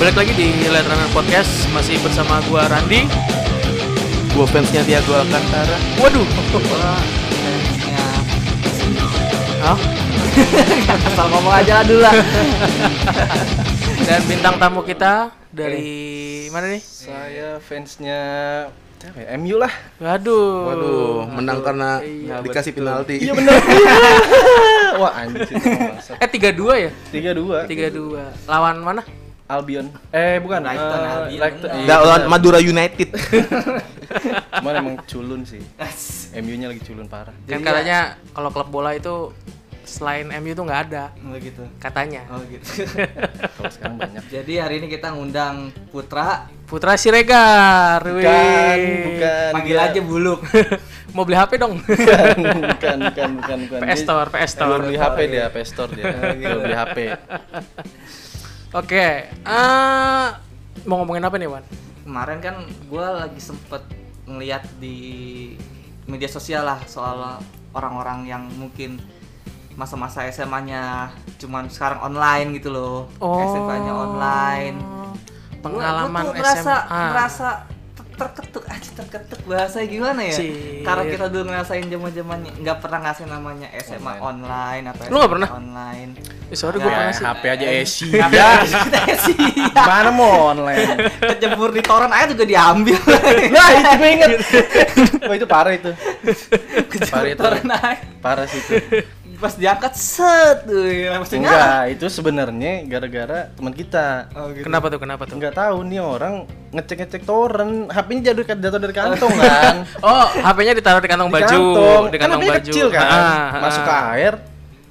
Balik lagi di Late Runner Podcast Masih bersama gua Randi Gue fansnya dia kan. gue Alcantara Waduh Hah? Asal ngomong aja lah dulu lah Dan bintang tamu kita Eh. dari mana nih? Saya fansnya siapa ya? MU lah. Waduh Waduh, menang karena Iya, dikasih penalti Iya benar. Wah anjir. Eh 32 ya? Tiga dua. 32 Lawan mana? Albion. Eh bukan. Brighton, eh, Albion. Brighton. Iya, Da- lawan Madura United Cuman emang culun sih. MU-nya lagi culun parah. ya. Kan katanya kalau klub bola itu selain MU tuh nggak ada Oh gitu. katanya. Oh gitu. Kalau sekarang banyak. Jadi hari ini kita ngundang Putra, Putra Siregar. Bukan, wih. bukan. panggil Eh, dia- aja Buluk. Mau beli HP dong. Bukan, bukan, bukan, bukan. bukan. PS Dia- Store, PS Dia Store. beli HP dia, PS Store dia. Dia beli HP. Oke, eh, mau ngomongin apa nih, Wan? Kemarin kan gue lagi sempet ngeliat di media sosial lah soal orang-orang yang mungkin masa-masa SMA-nya cuman sekarang online gitu loh. Oh. SMA-nya online. Gua- Pengalaman Oh. gua tuh ngerasa, SMA. ngerasa ter- terketuk aja terketuk bahasa gimana ya? Cih. Karena kita dulu ngerasain zaman-zamannya nggak pernah ngerasain namanya SMA online, atau Lu nggak SMA pernah? online. Eh, sorry gue Nggak. pernah Ya, sih. HP aja Esi. Apa kita sih? Mana mau online? kecebur di toran aja juga diambil Nah, itu gue inget. Wah, itu parah itu. Parah kecebur itu. ya? toran aja Parah sih itu. pas diangkat set wih, langsung nyala. Enggak, itu sebenarnya gara-gara teman kita. oh, gitu. Kenapa tuh? Kenapa tuh? Enggak tahu nih orang ngecek-ngecek torrent, HP-nya jatuh jatuh dari kantong kan. Oh, HP-nya ditaruh di kantong Di baju, kantong. di Kan kantong HP-nya baju. kecil kan. Ah, ah. Masuk ke air,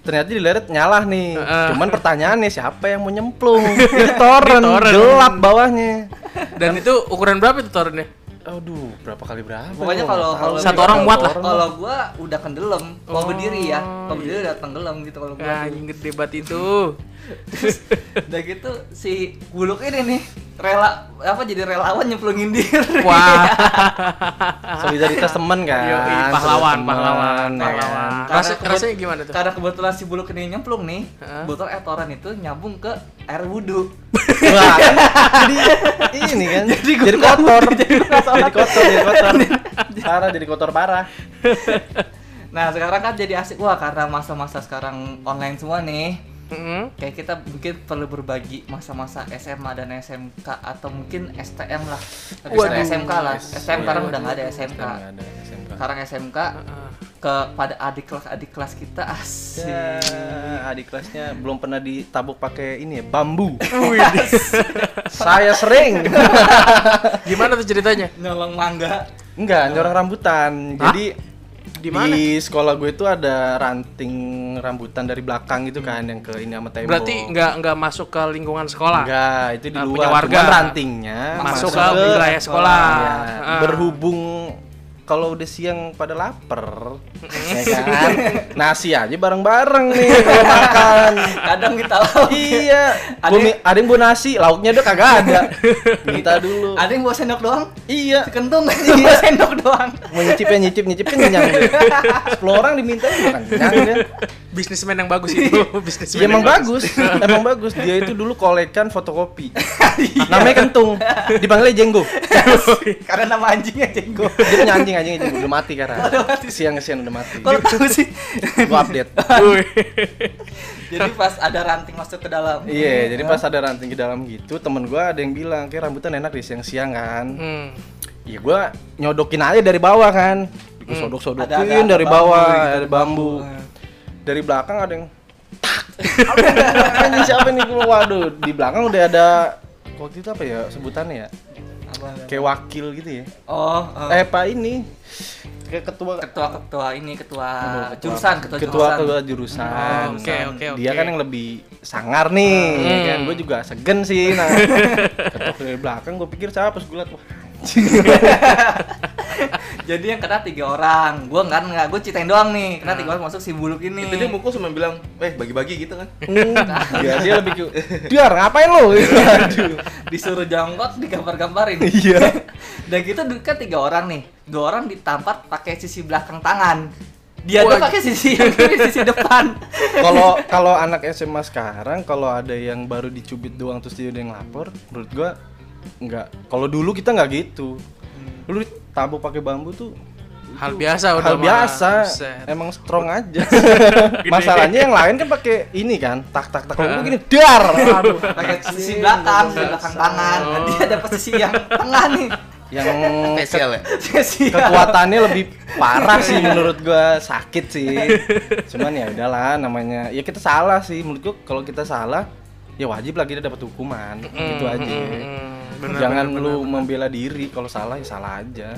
ternyata dileret nyala nih. Ah. Cuman pertanyaannya siapa yang mau nyemplung? Di torrent, Di torrent. gelap bawahnya. Dan itu ukuran berapa itu torrentnya? Aduh, berapa kali berapa? pokoknya gua kalau nggak kalau tahu. Satu orang muat lah. Oh, kalau gua udah kendelem mau berdiri ya mau berdiri iya. udah tenggelam gitu kalau gua Ya, anjing gede debat itu. udah gitu si buluk ini nih rela apa jadi relawan nyemplungin diri Wah, solidaritas teman Ah. kan. Yoi, pahlawan, pahlawan, Solidaritas teman, ya pahlawan. kan? Karena Rasa- kebet- rasanya gimana tuh? Karena kebetulan si buluk ini nyemplung nih, Heeh. botol air toran itu nyambung ke air wudhu. Wah, kan jadi ini kan jadi, kotor jadi kotor jadi kotor parah jadi kotor parah Nah sekarang kan jadi asik wah karena masa-masa sekarang online semua nih. Mm-mm. Kayak kita mungkin perlu berbagi masa-masa SMA dan SMK atau mungkin STM lah. Tapi Waduh. sekarang SMK lah. STM Iya. sekarang udah nggak ada SMK. Nggak ada SMK. Sekarang SMK Ah. ke pada adik kelas adik kelas kita asik. Ya, adik kelasnya belum pernah ditabuk pakai ini ya, bambu. Saya sering. Gimana tuh ceritanya? Nyolong mangga. Enggak, nyorong rambutan. Hah? Jadi Di mana? Di sekolah gue itu ada ranting rambutan dari belakang gitu kan yang ke ini sama tembok. Berarti nggak nggak masuk ke lingkungan sekolah. Enggak, itu di Nah, luar. punya warga. Cuman rantingnya Masuk ke wilayah sekolah. Iya. Ah. Berhubung kalau udah siang pada lapar, ya kan? Nasi aja bareng-bareng nih kalau makan. Kadang kita lawan. iya. Ada, Ada- ada yang bawa nasi, lauknya udah kagak ada. Minta dulu. Ada yang bawa sendok doang? Iya. Si kentung bawa sendok doang. Mau nyicip ya nyicip, nyicip kan kenyang dia. 10 orang diminta ya bukan kenyang dia. Bisnismen yang bagus itu, Iya bisnismen. emang bagus, emang bagus. Dia itu dulu kolekan fotokopi. Namanya Kentung, dipanggilnya Jenggo. Karena nama anjingnya jenggo. dia punya anjing anjing anjing udah mati karena siang siang udah mati Kalau tahu sih. gua update Wih. Jadi pas ada ranting masuk ke dalam. iya jadi pas ada ranting ke dalam gitu temen gua ada yang bilang kayak rambutan enak di siang siang kan Hmm. iya gua nyodokin aja dari bawah kan gua sodok Hmm. Ada- ada- sodokin ada dari bambu bawah gitu, ada bambu dari belakang ada yang anjing siapa nih gua waduh di belakang udah ada waktu itu apa ya sebutannya ya Apa? kayak wakil gitu ya Oh, eh eh, pak ini kayak ketua ketua-ketua ini ketua Aduh, Ah, jurusan, ketua, ketua jurusan. Ah, ketua jurusan. Oh, oke, oke, Dia oke. kan yang lebih sangar nih, ya kan hmm. gue juga segen sih. Nah, ketok dari belakang gue pikir siapa pas gue liat wah anjing. Jadi yang kena tiga orang. Gua kan enggak, gua ceritain doang nih. Kena tiga orang masuk si buluk ini. Itu dia mukul cuma bilang, eh bagi-bagi gitu kan. Dia, dia lebih cu- Diar Hmm. ngapain lo? Aduh. Disuruh jongkok, digambar-gambarin. Iya. Dan gitu du- kan tiga orang nih. Dua orang ditampar pakai sisi belakang tangan. Dia Wah. tuh pakai sisi yang kiri, sisi depan. Kalau kalau anak SMA sekarang kalau ada yang baru dicubit doang terus dia ada yang lapor, menurut gua enggak. Kalau dulu kita nggak gitu. Dulu tabu pakai bambu tuh Hal biasa Ah, udah hal mah. biasa Buset. emang strong aja masalahnya yang lain kan pakai ini kan tak tak tak kalau gini dar Pakai sisi belakang, sisi belakang tangan. Oh. Dia ada posisi yang tengah nih. yang Spesial ya. Sisi kekuatannya lebih parah sih menurut gua sakit sih cuman ya udahlah namanya ya kita salah sih menurut gua kalau kita salah ya wajib lah kita dapat hukuman gitu aja bener, jangan lu membela diri kalau salah ya salah aja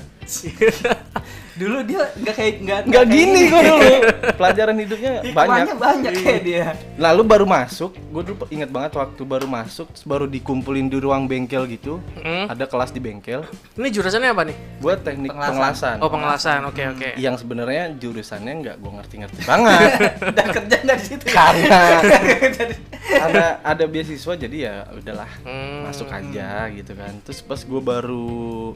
Dulu dia nggak kayak nggak nggak kayak gini gua dulu pelajaran hidupnya banyak Iya. Hikmahnya banyak kayak dia. Lalu baru masuk, gue dulu ingat banget waktu baru masuk, terus baru dikumpulin di ruang bengkel gitu, Mm. ada kelas di bengkel, Ini jurusannya apa nih? buat teknik Pengelasan. pengelasan. Oh pengelasan, oke oke. Yang sebenarnya jurusannya nggak gue ngerti-ngerti banget, Dan kerja dari situ. ya? karena ada ada beasiswa jadi ya udahlah Hmm. masuk aja gitu kan. Terus pas gue baru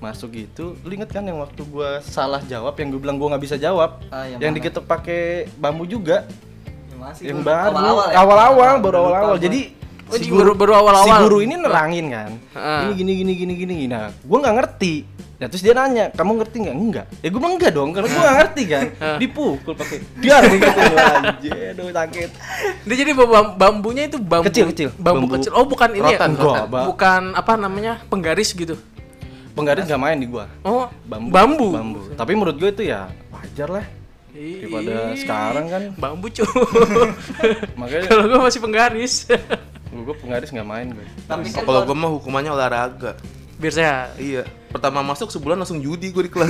masuk gitu, lu inget kan yang waktu gue salah jawab, yang gue bilang gue nggak bisa jawab, Ah, yang yang mana? diketok pakai bambu juga, Masih yang dulu, baru awal-awal ya? awal-awal baru Lupa awal-awal gua. jadi Oh, jadi baru- baru awal-awal. Ah. si guru ini nerangin kan Heeh. ini gini gini gini gini nah gue nggak ngerti nah terus dia nanya kamu ngerti nggak enggak ya gue bilang enggak dong karena gue nggak ngerti kan Ah. dipukul pakai biar gitu aja aduh sakit Dia jadi bam- bambunya itu bambu Kecil, kecil. Bambu, Bambu kecil. Oh bukan ini rotan, ya? Enggak, Ba. Bukan apa namanya penggaris gitu. penggaris nggak main di gue Oh bambu bambu. Bambu. tapi menurut gue itu ya wajar lah daripada Ih, sekarang kan Bambu cu. makanya Kalau gua masih penggaris. gue penggaris nggak main gue Tapi kan Kalau gue mah hukumannya olahraga. Biar sehat. Iya. Pertama masuk sebulan langsung judi gue di kelas.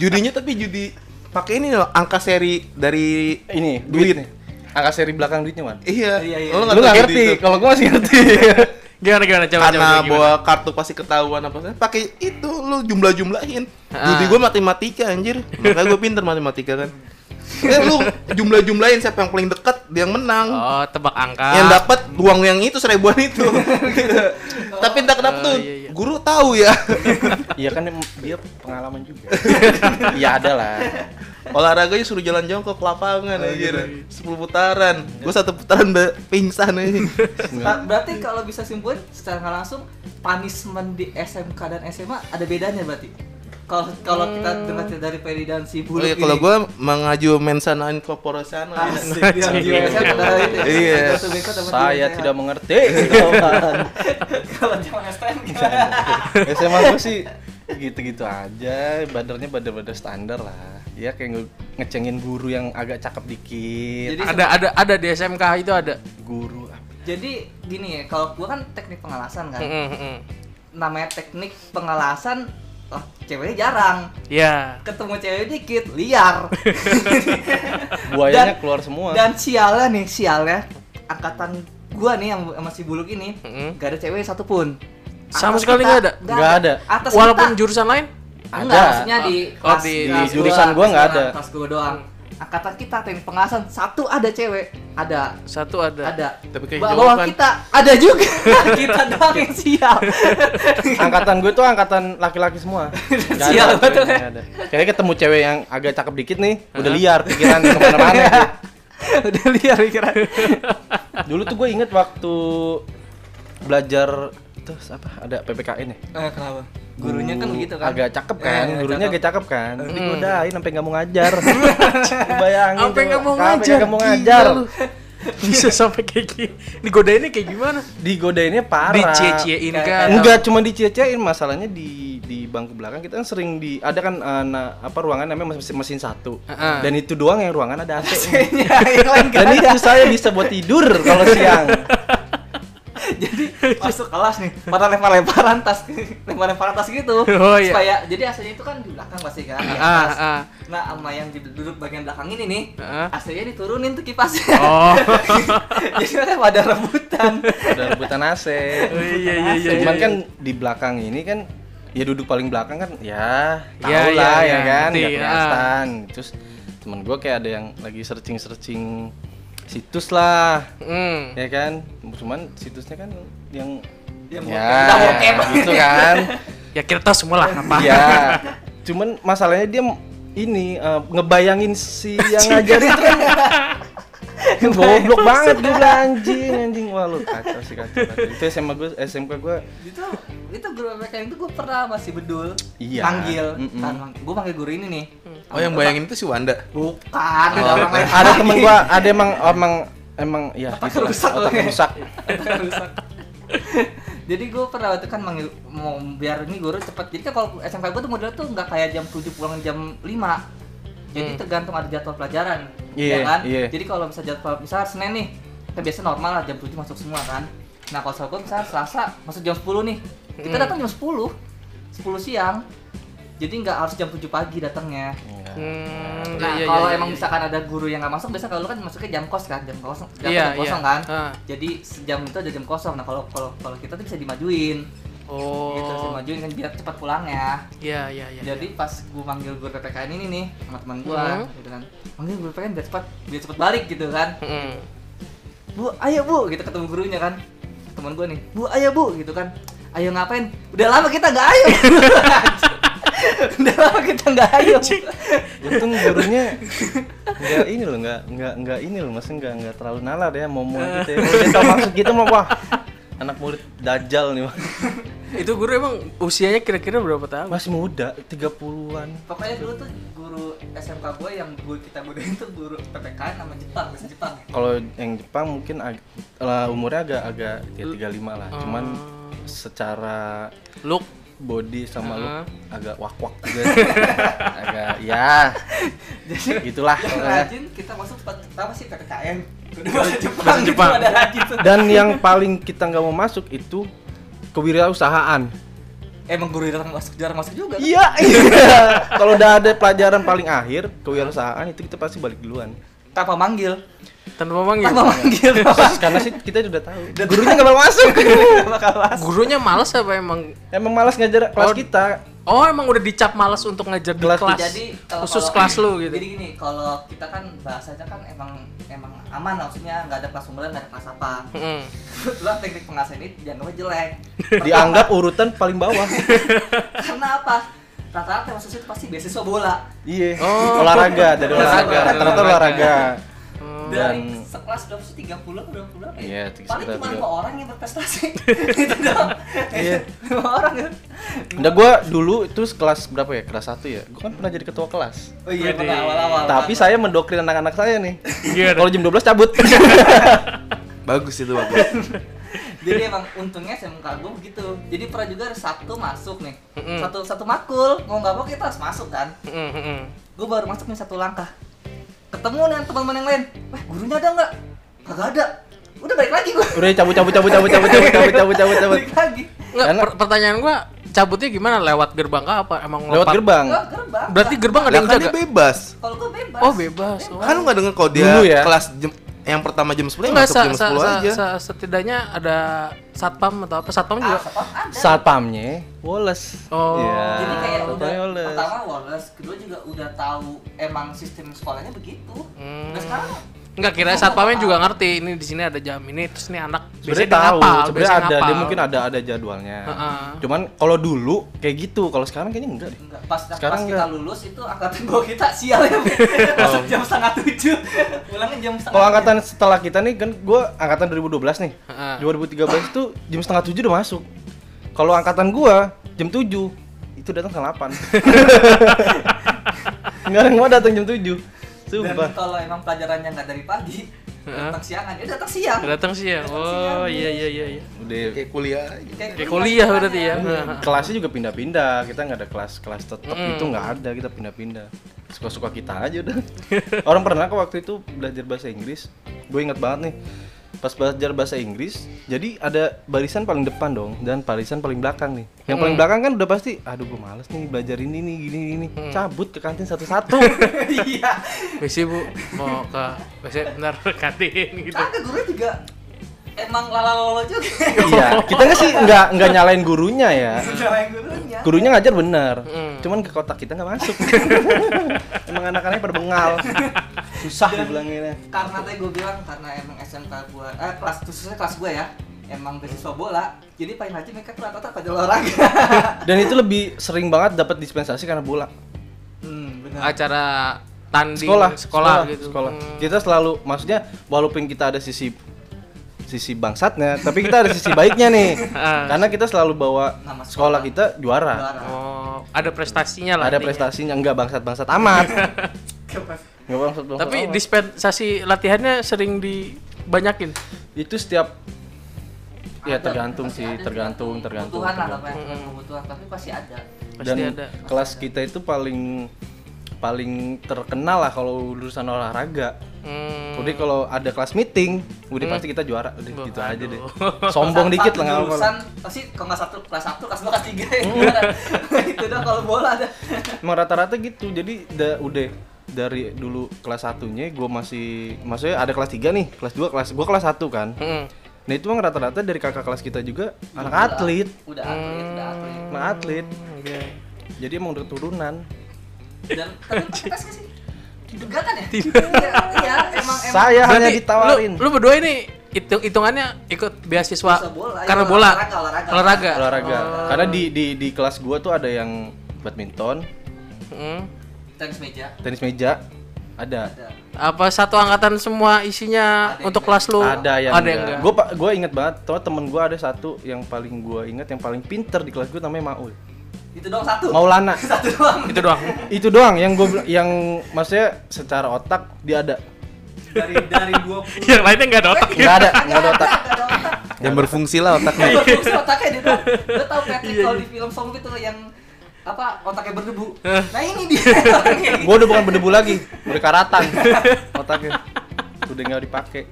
Judinya tapi judi pakai ini loh angka seri dari ini Duit. duit, nih angka seri belakang duitnya man Iya. Iya, iya. Lo lu nggak judi ngerti itu. kalau gue masih ngerti Gimana gimana coba Karena coba, gimana? bawa kartu pasti ketahuan apa sih. Pakai itu lu jumlah-jumlahin. Judi gue matematika anjir. Makanya gue pinter matematika kan. Eh lu jumlah-jumlahin siapa yang paling dekat dia yang menang. Oh tebak angka. yang dapat uang yang itu seribuan itu tapi entah kenapa tuh iya, iya. guru tahu ya Iya kan em- dia pengalaman juga. Iya ada lah. olahraganya suruh jalan jongkok ke lapangan anjir 10 putaran gua satu putaran udah pingsan aja Ba- berarti kalau bisa simpulin secara nggak langsung punishment di SMK dan SMA ada bedanya berarti. Kalau kalau kita Hmm. dengar dari Ferry dan si Bulu Oh iya, kalau ini. Ah, gua mengaju mensana incorporasana Asik, dia jiwa saya padahal itu ya. Iya. Ada satu bengkel sama jiwa Saya sehat. tidak mengerti. Iya. kawan. kalau zaman STM SMA gue sih gitu-gitu aja, badarnya badar-badar standar lah. Ya kayak nge- ngecengin guru yang agak cakep dikit. Jadi- ada ada ada di SMK itu ada. guru apa? jadi gini ya kalau gua kan teknik pengalasan kan Mm, mm, mm. namanya teknik pengalasan lah ceweknya jarang Ya. ketemu cewek dikit liar Buayanya Dan- keluar semua. dan sialnya nih sialnya angkatan gua nih yang sama si buluk ini Mm-mm. gak ada cewek satupun Sama Atas sekali kita, nggak ada? Nggak ada. atas Walaupun kita. jurusan lain? Enggak, Ada. maksudnya di Oh, kelas, di- kelas di jurusan gua nggak ada. kelas gua doang angkatan kita teknik pengalasan satu ada cewek ada Satu ada. ada Tapi kayak Ba- jawaban. bawah kita ada juga kita doang yang sial Angkatan gue tuh angkatan laki-laki semua. Nggak Sial, ada, betul ya. nggak ada. Kayaknya ketemu cewek yang agak cakep dikit nih, udah liar pikiran kemana-mana. gitu. udah liar pikiran Dulu tuh gue inget waktu belajar terus apa ada PPKN ya? eh, kenapa gurunya kan Guru begitu kan agak cakep kan Eh, Hmm. gurunya agak cakep kan tapi godain sampai nggak mau ngajar Lu bayangin Sampai coba. nggak mau Sampai ngajar. nggak mau Gila ngajar lu. Bisa sampai kayak gini. Digodainnya kayak gimana? digodainnya parah Dicie-ciein kan? enggak cuma dicie-ciein masalahnya di di bangku belakang kita kan sering di ada kan eh, na- apa ruangan namanya mesin, mesin satu Heeh. Iya, dan itu doang yang ruangan ada AC Ya, yang lain nggak dan itu saya bisa buat tidur kalau siang jadi masuk kelas nih pada lempar-lemparan tas lempar-lemparan tas gitu Oh, iya. supaya jadi aslinya itu kan di belakang pasti kan di Ah, atas. ah. nah sama yang di- duduk bagian belakang ini nih Ah. aslinya diturunin tuh kipasnya Oh. jadi mereka pada rebutan udah rebutan AC Oh, iya, iya, iya, cuman iya. kan di belakang ini kan ya duduk paling belakang kan ya tau Iya, iya, lah iya, ya kan ngerti, nggak ya. kelihatan terus temen gue kayak ada yang lagi searching searching situs lah Hmm. ya kan cuman situsnya kan yang Yang ya bokep. gitu kan Iya. Ya kita tahu semua lah apa. ya cuman masalahnya dia ini eh, ngebayangin si yang ngajarin tuh kan goblok banget gue bilang, anjing anjing wah lu kacau sih kacau, kacau. itu SMA gue SMK gue itu itu guru PKN itu gue pernah masih bedul Kan, Iya. panggil Mm-mm. gue panggil guru ini nih Hmm. Oh yang bayangin itu si Wanda. bukan Oh. ada orang lain ada temen gue ada emang emang emang ya Otak gitu lah, rusak otak lu ya. rusak jadi gue pernah waktu itu kan manggil mau biar ini guru cepet jadi kan kalau SMK gue tuh modelnya tuh nggak kayak jam 7 pulang jam 5 jadi tergantung ada jadwal pelajaran Hmm. Iya, ya kan iya. jadi kalau bisa jadwal misalnya Senin nih kita biasa normal lah jam 7 masuk semua kan nah kalau saya gue misalnya Selasa masuk jam 10 nih kita Hmm. datang jam 10 10 siang jadi nggak harus jam 7 pagi datangnya Hmm, Nah, iya, iya, kalau iya, emang iya. misalkan ada guru yang nggak masuk, biasa kalau lu kan masuknya jam kos kan, jam kosong, jam Iya, kerja kosong iya. kan. Ah. Jadi sejam itu ada jam kosong. Nah, kalau kalau kalau kita tuh bisa dimajuin. Gitu, bisa Oh, dimajuin kan biar cepat pulangnya. iya iya iya. Jadi pas gue manggil guru PPKN ini nih, sama teman gue, Mhm. gitu kan. Manggil guru PPKN biar cepat biar cepat balik gitu kan. Mm-mm. Bu, ayo Bu, gitu ketemu gurunya kan. Teman gue nih, Bu, ayo Bu, gitu kan. Ayo ngapain? Udah lama kita nggak ayo. Udah lama kita nggak ayo. untung gurunya nggak ini loh nggak nggak nggak ini loh maksudnya nggak nggak terlalu nalar ya momo gitu ya Kalau dia tau maksud gitu mah wah anak murid dajal nih Wak. Itu guru emang usianya kira-kira berapa tahun? masih muda 30-an Pokoknya dulu tuh guru SMK gue yang gue kita godain tuh guru PPKN sama Jepang, bahasa Jepang. kalau yang Jepang mungkin ag- lah, umurnya agak agak ya 35 lah cuman secara Look, body sama look Ah. agak wak-wak juga sih. agak ya Jadi gitulah yang pokoknya. rajin kita masuk tempat pertama sih PPKN. Udah bahasa Jepang, bahasa Jepang. ada rajin tuh. dan yang paling kita nggak mau masuk itu kewirausahaan Emang guru jarang masuk, jarang masuk juga. kan? Iya, iya. Kalau udah ada pelajaran paling akhir kewirausahaan itu kita pasti balik duluan. Tanpa manggil, tanpa manggil. tanpa manggil. Karena sih kita udah tahu. Gurunya nggak mau masuk. Iya, Gurunya malas apa emang? Emang malas ngajar kelas Oh. kita. Oh, emang udah dicap malas untuk ngajar di Kelas. kelas. Jadi kalau- khusus eh, kalau- kelas lu gitu. Jadi gini, kalau kita kan bahasanya kan emang emang aman lah, maksudnya nggak ada kelas unggulan, nggak ada kelas apa. Mm-mm. Kebetulan teknik pengasahan ini dianggapnya jelek. Dianggap urutan paling bawah. Karena apa? Rata-rata yang masuk situ pasti beasiswa bola. Iya. Oh. Olahraga, dari olahraga. Rata-rata olahraga. Hmm, dari Dan- sekelas berapa sih 30 atau berapa puluh apa Iya, ya? tiga- Paling sekitar cuma tiga. lima orang yang berprestasi. itu doang. Iya. Lima orang ya. Udah gua dulu itu kelas berapa ya? Kelas 1 ya. Gua kan pernah jadi ketua kelas. Oh iya, Wede. pada awal-awal. Tapi Pak. saya mendokrin anak-anak saya nih. Iya. Kalau jam 12 cabut. Bagus itu bagus. jadi emang untungnya saya kagum gitu. Jadi pernah juga ada Sabtu masuk nih. Mm-mm. Satu satu makul, mau nggak mau kita harus masuk kan. Mm-mm, mm-mm. Gue baru masuk nih satu langkah. Ketemu dengan teman-teman yang lain. Wah, gurunya ada nggak? Kagak ada. Udah balik lagi gue. Udah cabut cabut cabut cabut cabut cabut cabut cabut cabut cabut. balik lagi. Nggak, Karena- per- pertanyaan gua cabutnya gimana? Lewat gerbang kah apa? Emang Lewat lompat? gerbang. Gua gerbang. Berarti gerbang ada Lah yang kan jaga. dia bebas. kalau gue bebas. Oh, bebas. Oh. Kan lu nggak denger kalau dia Dulu ya. kelas jam- yang pertama jam 10 Enggak, masuk jam 10 aja. setidaknya ada satpam atau apa? Satpam Ah, juga. Sabtu ada. Satpamnya Wallace. Oh. Iya. Jadi kayak udah Satpamnya Wallace. pertama Wallace, kedua juga udah tahu emang sistem sekolahnya begitu. Hmm. Nah sekarang Enggak kira satpamnya juga ngerti ini di sini ada jam ini terus ini anak dia sebenarnya tahu ngapal, sebenarnya biasanya ada dia ngapal. mungkin ada ada jadwalnya Heeh. cuman kalau dulu kayak gitu kalau sekarang kayaknya enggak deh enggak pas Sekarang pas kita enggak. Oh. lulus itu angkatan bawah kita sial ya. Masuk jam setengah tujuh, pulangnya jam setengah. kalau angkatan setelah kita nih kan gue angkatan 2012 nih Heeh. 2013 tuh jam setengah tujuh udah masuk kalau angkatan gue jam 7 itu datang setengah 8 nggak ada yang mau datang jam 7 Dan sumpah kalau emang pelajarannya nggak dari pagi, Heeh. datang siangan, ya datang siang. Datang sih ya. Oh, iya iya iya iya. udah Kayak kuliah aja. Kayak kuliah berarti ya. Iya. Heeh. kelasnya juga pindah-pindah kita nggak ada kelas kelas tetap Mm. itu nggak ada kita pindah-pindah suka-suka kita aja udah orang pernah ke waktu itu belajar bahasa Inggris gue ingat banget nih pas belajar bahasa Inggris jadi ada barisan paling depan dong dan barisan paling belakang nih yang paling belakang kan udah pasti aduh gue males nih belajar ini nih gini ini cabut ke kantin satu-satu Iya. Misi Nah, Bu mau ke WC benar kantin gitu. Kagak guru juga emang lalalolo juga. iya kita nggak sih nggak nggak nyalain gurunya ya Sama yang gurunya. gurunya ngajar bener Mm. cuman ke kotak kita nggak masuk emang anak-anaknya pada bengal susah dibilanginnya karena tadi gue bilang karena emang SMK gue eh kelas khususnya kelas gue ya emang beasiswa bola jadi paling rajin mereka tuh rata-rata pada olahraga dan itu lebih sering banget dapat dispensasi karena bola hmm benar. acara tanding sekolah sekolah, gitu. sekolah. Hmm. kita selalu maksudnya walaupun kita ada sisi sisi bangsatnya tapi kita ada sisi baiknya nih Ah. karena kita selalu bawa Nama sekolah sekolah. kita juara Juara. Oh, ada prestasinya lah. ada artinya. prestasinya nggak bangsat bangsat amat nggak bangsat bangsat Tapi amat. dispensasi latihannya sering dibanyakin. itu setiap ya Ada, tergantung pasti sih ada tergantung tergantung, kebutuhan lah tergantung. apa yang kebutuhan tapi pasti ada Pasti dan ada. kelas kita itu paling paling terkenal lah kalau urusan olahraga Hmm. Udah kalau ada kelas meeting, udah pasti kita juara, udah Wah, gitu aduh. aja deh. Sombong Satu dikit lah nggak apa-apa. jurusan, pasti kalau nggak satu kelas satu kelas dua kelas tiga ya gimana? itu dah kalau bola ada Emang rata-rata gitu, jadi da- udah dari dulu kelas satunya gue masih maksudnya ada kelas 3 nih kelas 2 kelas gue kelas 1 kan Mm-mm. nah itu emang rata-rata dari kakak kelas kita juga anak atlet Mm. udah atlet udah atlet anak atlet jadi emang udah turunan dan tapi tes sih didugakan ya Iya, iya emang emang saya hanya Berarti ditawarin Lu, lu berdua ini hitung hitungannya ikut beasiswa Bisa bola, iya, karena bola. olahraga, olahraga. olahraga Oh. karena di, di di kelas gue tuh ada yang badminton Mm. tenis meja tenis meja ada ada Apa satu angkatan semua isinya Ada yang untuk kelas lu? ada yang ada enggak. enggak. Gue gue inget banget, tuh temen gue ada satu yang paling gue inget, yang paling pinter di kelas gue namanya Maul. itu doang satu Maulana. satu doang Itu doang. Itu doang yang gue yang maksudnya secara otak dia ada. dari dari dua puluh yang lainnya enggak ada otak. Nggak ada, nggak ada otak. ada otak Yang berfungsi lah otaknya. Gua fungsi otaknya dia doang. Lo tau Patrick Iya, kalau di film zombie tuh yang apa otaknya berdebu. Nah ini dia. gitu. orangnya. Gue udah bukan berdebu lagi, udah karatan otaknya. Udah nggak dipakai.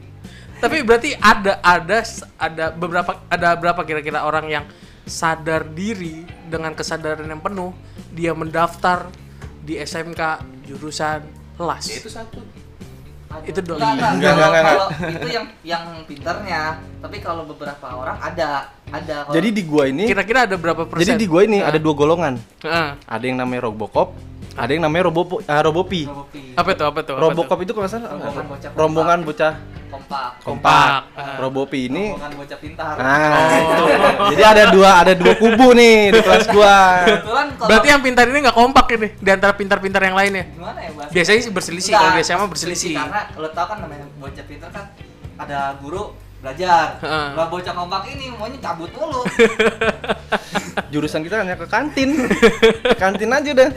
Tapi berarti ada ada ada beberapa ada berapa kira-kira orang yang sadar diri dengan kesadaran yang penuh dia mendaftar di SMK jurusan las. satu. Aduh. Itu dong. Nggak, nggak, Nggak, kalau- nggak, nggak. kalau itu yang yang pinternya. Tapi kalau beberapa orang ada ada. Kalau- Jadi di gue ini, Kira-kira ada berapa persen? jadi di gue ini ada dua golongan. Heeh. Ada yang namanya Robocop, ada yang namanya Robopo, ah, Robopi. Robopi, apa itu apa itu? Robocop itu kalau nggak salah Rombongan bocah kompak. rombongan bocah kompak. ah. Oh. Kompak. kompak. Robopi ini Rombongan bocah pintar. Nah, itu. jadi ada dua ada dua kubu nih di kelas gua. Kebetulan kalau Berarti yang pintar ini nggak kompak ini di antara pintar-pintar yang lainnya. gimana ya bahas? Biasanya sih berselisih, kalau biasanya mah berselisih. Karena lo tau kan namanya bocah pintar kan ada guru belajar. Heeh. Lah bocah kompak ini maunya cabut mulu. Jurusan kita hanya ke kantin. Ke kantin aja dah.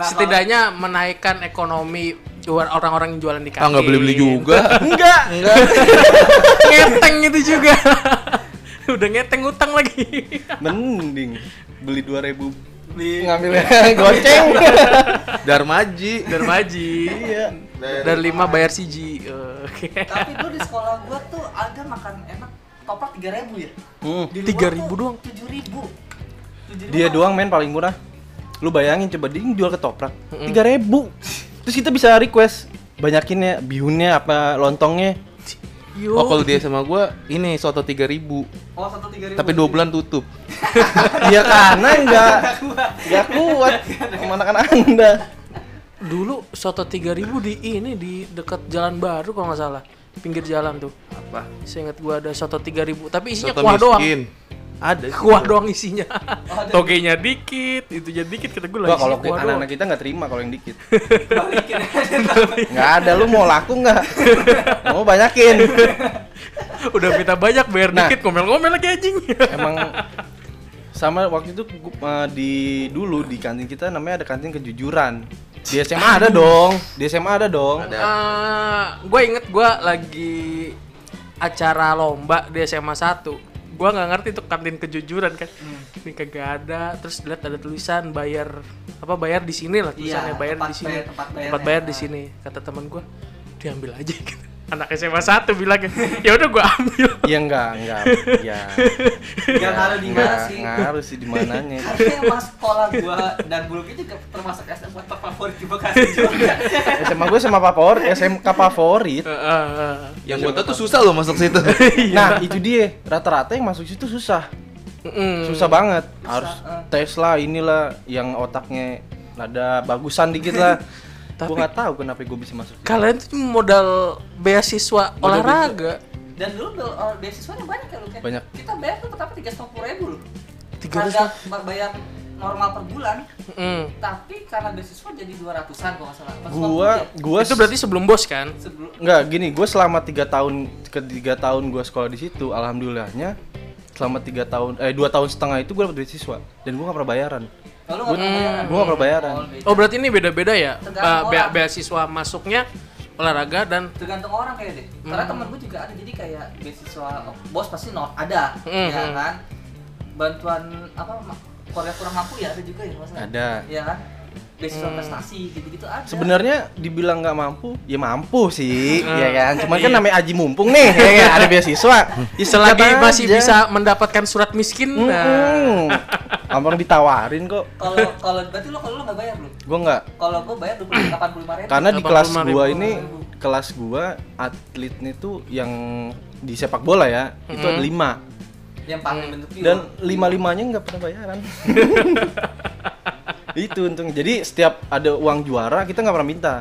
Nah, kalau- Setidaknya menaikkan ekonomi jual- orang-orang yang jualan di kantin. Ah nggak beli beli juga. Enggak. ngeteng itu juga. Udah ngeteng utang lagi. Mending beli 2000 Beli- ngambilnya goceng. Darmaji. Dermaji. Iya. Dari lima bayar siji. Oke. Tapi dulu di sekolah gua tuh ada makan enak toprak 3000 ya. Hmm. Di luar 3.000 tuh doang? 7000. 7000. Dia doang main paling murah. Lu bayangin coba dia jual ketoprak 3000. Terus kita bisa request banyakin ya bihunnya apa lontongnya. Yo. Oh kalau dia sama gua ini soto 3000 Oh, satu 3000. tapi dua bulan tutup. Iya karena enggak enggak kuat sama anak-anak Anda. Dulu soto 3000 di ini di dekat Jalan Baru kalau nggak salah. Pinggir jalan tuh. Apa? Seingat gua ada soto 3000, tapi isinya Soto kuah doang. miskin. Ada. sih. Kuah doang isinya. Oh, ada. Togenya dikit, itu jadi dikit kata gua Wah, lagi. kalau isinya kuah doang. anak-anak kita nggak terima kalau yang dikit. Balikin aja. Nggak ada, lu mau laku nggak? mau banyakin. Udah minta banyak bayar Nah. dikit, ngomel-ngomel lagi anjing. Emang sama waktu itu gu- eh, di dulu di kantin kita namanya ada kantin kejujuran. Di SMA ada dong, di SMA ada dong. gue Eh, inget gue lagi acara lomba di SMA 1 gue nggak ngerti tuh kantin kejujuran kan Hmm. ini kagak ada terus lihat ada tulisan bayar apa bayar di sini lah Iya, tulisannya bayar tempat di sini bayar- tempat bayarnya. bayar di Ah. sini kata teman gue diambil aja gitu anak SMA 1 bilang ya udah gue ambil Iya enggak, enggak. Iya. Enggak ngaruh di mana sih? Enggak ngaruh sih di mananya. Karena emang sekolah gua dan bulu itu juga termasuk SM buat favorit di Bekasi juga. SMA gue sama favorit, SMK favorit. Heeh, heeh. Yang gua tahu tuh susah loh masuk situ. Nah, itu dia. Rata-rata yang masuk situ susah. Mm-mm. Susah banget. Harus eh. tes lah inilah yang otaknya nada bagusan dikit lah. Tapi Tapi- gue nggak tahu kenapa gue bisa masuk. situ. kalian tuh modal beasiswa olahraga Dan dulu be- oh, beasiswanya banyak ya lu kan? Banyak. Kita bayar tuh pertama 350.000 loh. Tiga ratus Harga bayar normal per bulan Mm. tapi karena beasiswa jadi 200-an kalau nggak salah Pas Gua waktu gua Itu berarti sebelum bos kan? dia sebelum Enggak, gini, gue selama tiga tahun ketiga tahun gue sekolah di situ, alhamdulillahnya selama tiga tahun eh dua tahun setengah itu gue dapet beasiswa dan gue gak pernah bayaran. kalau nggak pernah bayaran. Gue gak pernah bayaran. Oh, beda. Oh berarti ini beda-beda ya? Ba- Tergantung bea- orang. beasiswa masuknya olahraga dan tergantung orang kayak deh karena temen gue juga ada jadi kayak beasiswa bos pasti not ada Hmm, ya hmm. kan bantuan apa ma- keluarga kurang mampu ya ada juga ya masalah Ada. ya kan beasiswa prestasi gitu gitu ada Sebenarnya dibilang nggak mampu, ya mampu sih, ya kan. Cuman kan Iya. namanya aji mumpung nih, ya kan? ada beasiswa. Ya, selagi sikat masih aja. bisa mendapatkan surat miskin. Nah, Mm-mm. Gampang ditawarin kok. kalau kalau berarti lo kalau lo nggak bayar lo Gue nggak kalau gue bayar dua puluh delapan puluh ribu karena di kelas 85.000. gua ini kelas gua atletnya tuh yang di sepak bola ya itu Mm. ada lima yang paling bentuk view. dan lima limanya nggak pernah bayaran itu untung jadi setiap ada uang juara kita nggak pernah minta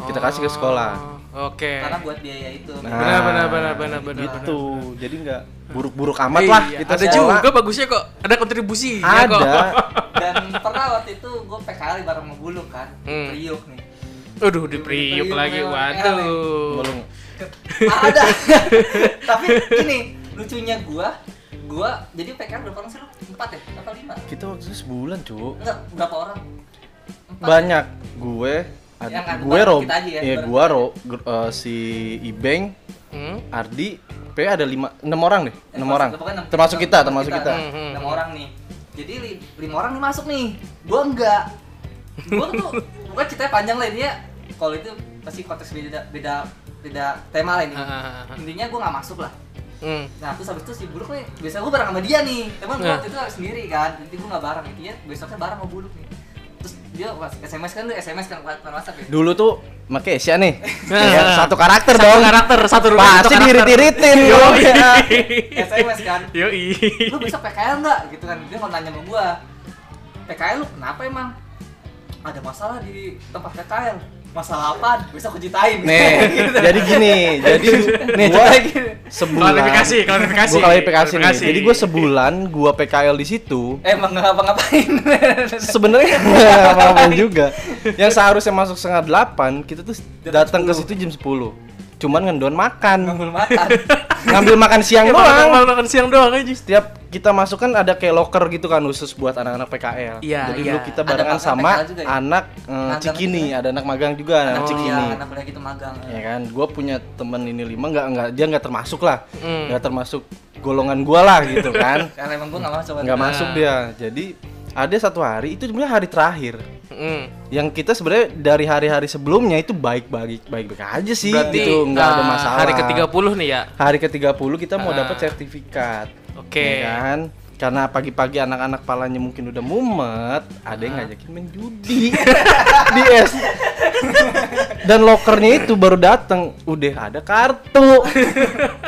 kita kasih ke sekolah Oh, Oke. karena buat biaya itu Nah, Benar benar benar benar benar. gitu jadi nggak buruk-buruk amat lah Iya, kita ada sekolah. juga bagusnya kok. Ada kontribusi kok. ada dan pernah waktu itu gue PKL bareng sama Buluk kan Hmm. Priuk nih Aduh, di Priuk Priuk lagi. memang Waduh. Belum. Ah, ada tapi gini lucunya gua gua jadi PKL berapa orang sih lu empat ya apa lima kita waktu itu sebulan cuk enggak berapa orang Empat. banyak gue ad- Yang ada gue bareng Rob kita aja ya, ya bareng gue Rob gr- eh, si Ibeng Hmm? Ardi P ada lima enam orang deh Eh, enam maksud- orang pokoknya enam- termasuk enam- kita enam termasuk kita Hmm, hmm, enam hmm. orang nih jadi li- lima orang nih masuk nih gua enggak gua tuh gua ceritanya panjang lah ini ya kalau itu pasti konteks beda beda beda tema lah ini Ah, ah, ah, ah. intinya gua nggak masuk lah Hmm. Nah terus habis itu si Buruk nih, biasanya gue bareng sama dia nih Emang gue Nah. waktu itu sendiri kan, nanti gue gak bareng Intinya besoknya bareng sama Buruk nih Terus dia was- SMS kan, lu SMS kan, bukan bukan WhatsApp ya dulu tuh make Asia nih Nah. Ya, satu karakter Satu dong karakter, satu rumah, satu pasti karakter. dirit-iritin dong ya. SMS kan, Yoi. lu besok PKL gak? Gitu kan, dia mau nanya sama gue PKL lu kenapa emang? Ada masalah di tempat PKL Masalah apa? Besok gue ceritain Gitu. nih jadi gini jadi nih gua sebulan Klarifikasi, klarifikasi. gua klarifikasi nih Klarifikasi. jadi gue sebulan gua PKL di situ Emang gak ngapa-ngapain sebenarnya apa juga yang seharusnya masuk setengah delapan kita tuh datang ke situ jam 10 cuman ngendon makan Ngomong makan ngambil makan siang Yang doang. doang Iya, makan siang doang aja. setiap kita masuk kan ada kayak locker gitu kan khusus buat anak-anak PKL. Iya, Jadi iya. dulu kita Ada barengan magang sama PKL juga ya? anak eh, Magang Cikini, juga. ada anak magang juga anak, Oh, Anak Cikini. iya, kuliah, anak kuliah gitu magang Ya kan, gue punya temen ini lima nggak nggak dia nggak termasuk lah, Hmm. nggak termasuk golongan gue lah gitu kan, Karena emang gue gak masuk nggak Nah. masuk dia. Jadi ada satu hari itu sebenarnya hari terakhir Hmm. yang kita sebenarnya dari hari-hari sebelumnya itu baik-baik baik-baik aja sih Berarti gitu nggak ada ah, masalah Hari ke-30 nih ya. hari ke-30 kita mau Ah. dapat sertifikat. Oke. Ya kan? Karena pagi-pagi anak-anak palanya mungkin udah mumet, ada yang ngajakin main judi di es. Dan lokernya itu baru datang, udah ada kartu.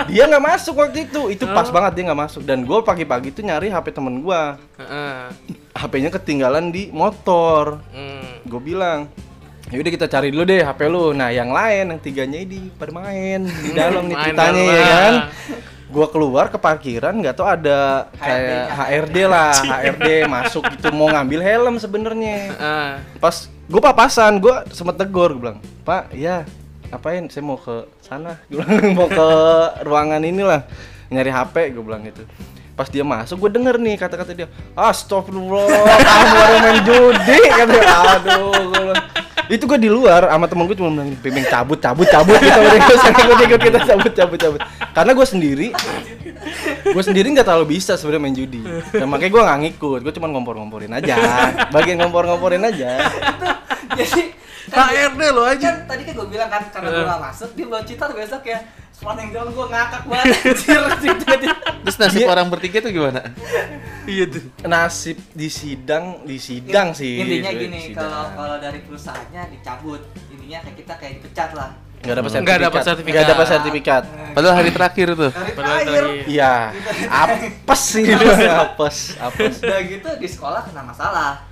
dia nggak masuk waktu itu, itu pas banget dia nggak masuk. Dan gue pagi-pagi itu nyari HP temen gue, Heeh. HP-nya ketinggalan di motor Hmm. gue bilang yaudah kita cari dulu deh HP lu nah yang lain yang tiganya ini pada main di dalam Hmm, nih Main ceritanya dalam. ya kan gue keluar ke parkiran nggak tau ada kayak HRD lah HRD masuk gitu mau ngambil helm sebenarnya Ah. pas gue papasan gue sempet tegur gue bilang pak ya apain saya mau ke sana gue bilang mau ke ruangan inilah nyari HP gue bilang gitu pas dia masuk gue denger nih kata-kata dia astagfirullah kamu baru main judi kata dia. aduh gua bilang. itu gue di luar sama temen gue cuma bilang pimpin cabut cabut cabut kita udah ikut sana ikut ikut kita cabut cabut cabut karena gue sendiri gue sendiri nggak terlalu bisa sebenarnya main judi dan makanya gue nggak ngikut gue cuma ngompor-ngomporin aja bagian ngompor-ngomporin aja Jadi Nah, HRD lo aja. kan tadi kan gue bilang kan karena Iya. gue gak masuk dia belum cerita tuh besok ya sekolah yang jauh gue ngakak banget anjir jadi Terus nasib Iya. orang bertiga tuh gimana? Iya tuh. nasib di sidang di sidang sih intinya Di gini sidang. kalau kalau dari perusahaannya dicabut intinya kayak kita kayak dipecat lah nggak dapat Nggak sertifikat dapat sertifikat. nggak dapat sertifikat Padahal hari terakhir tuh. dari Padahal terakhir tadi- iya apes sih apes apes udah gitu di sekolah kena masalah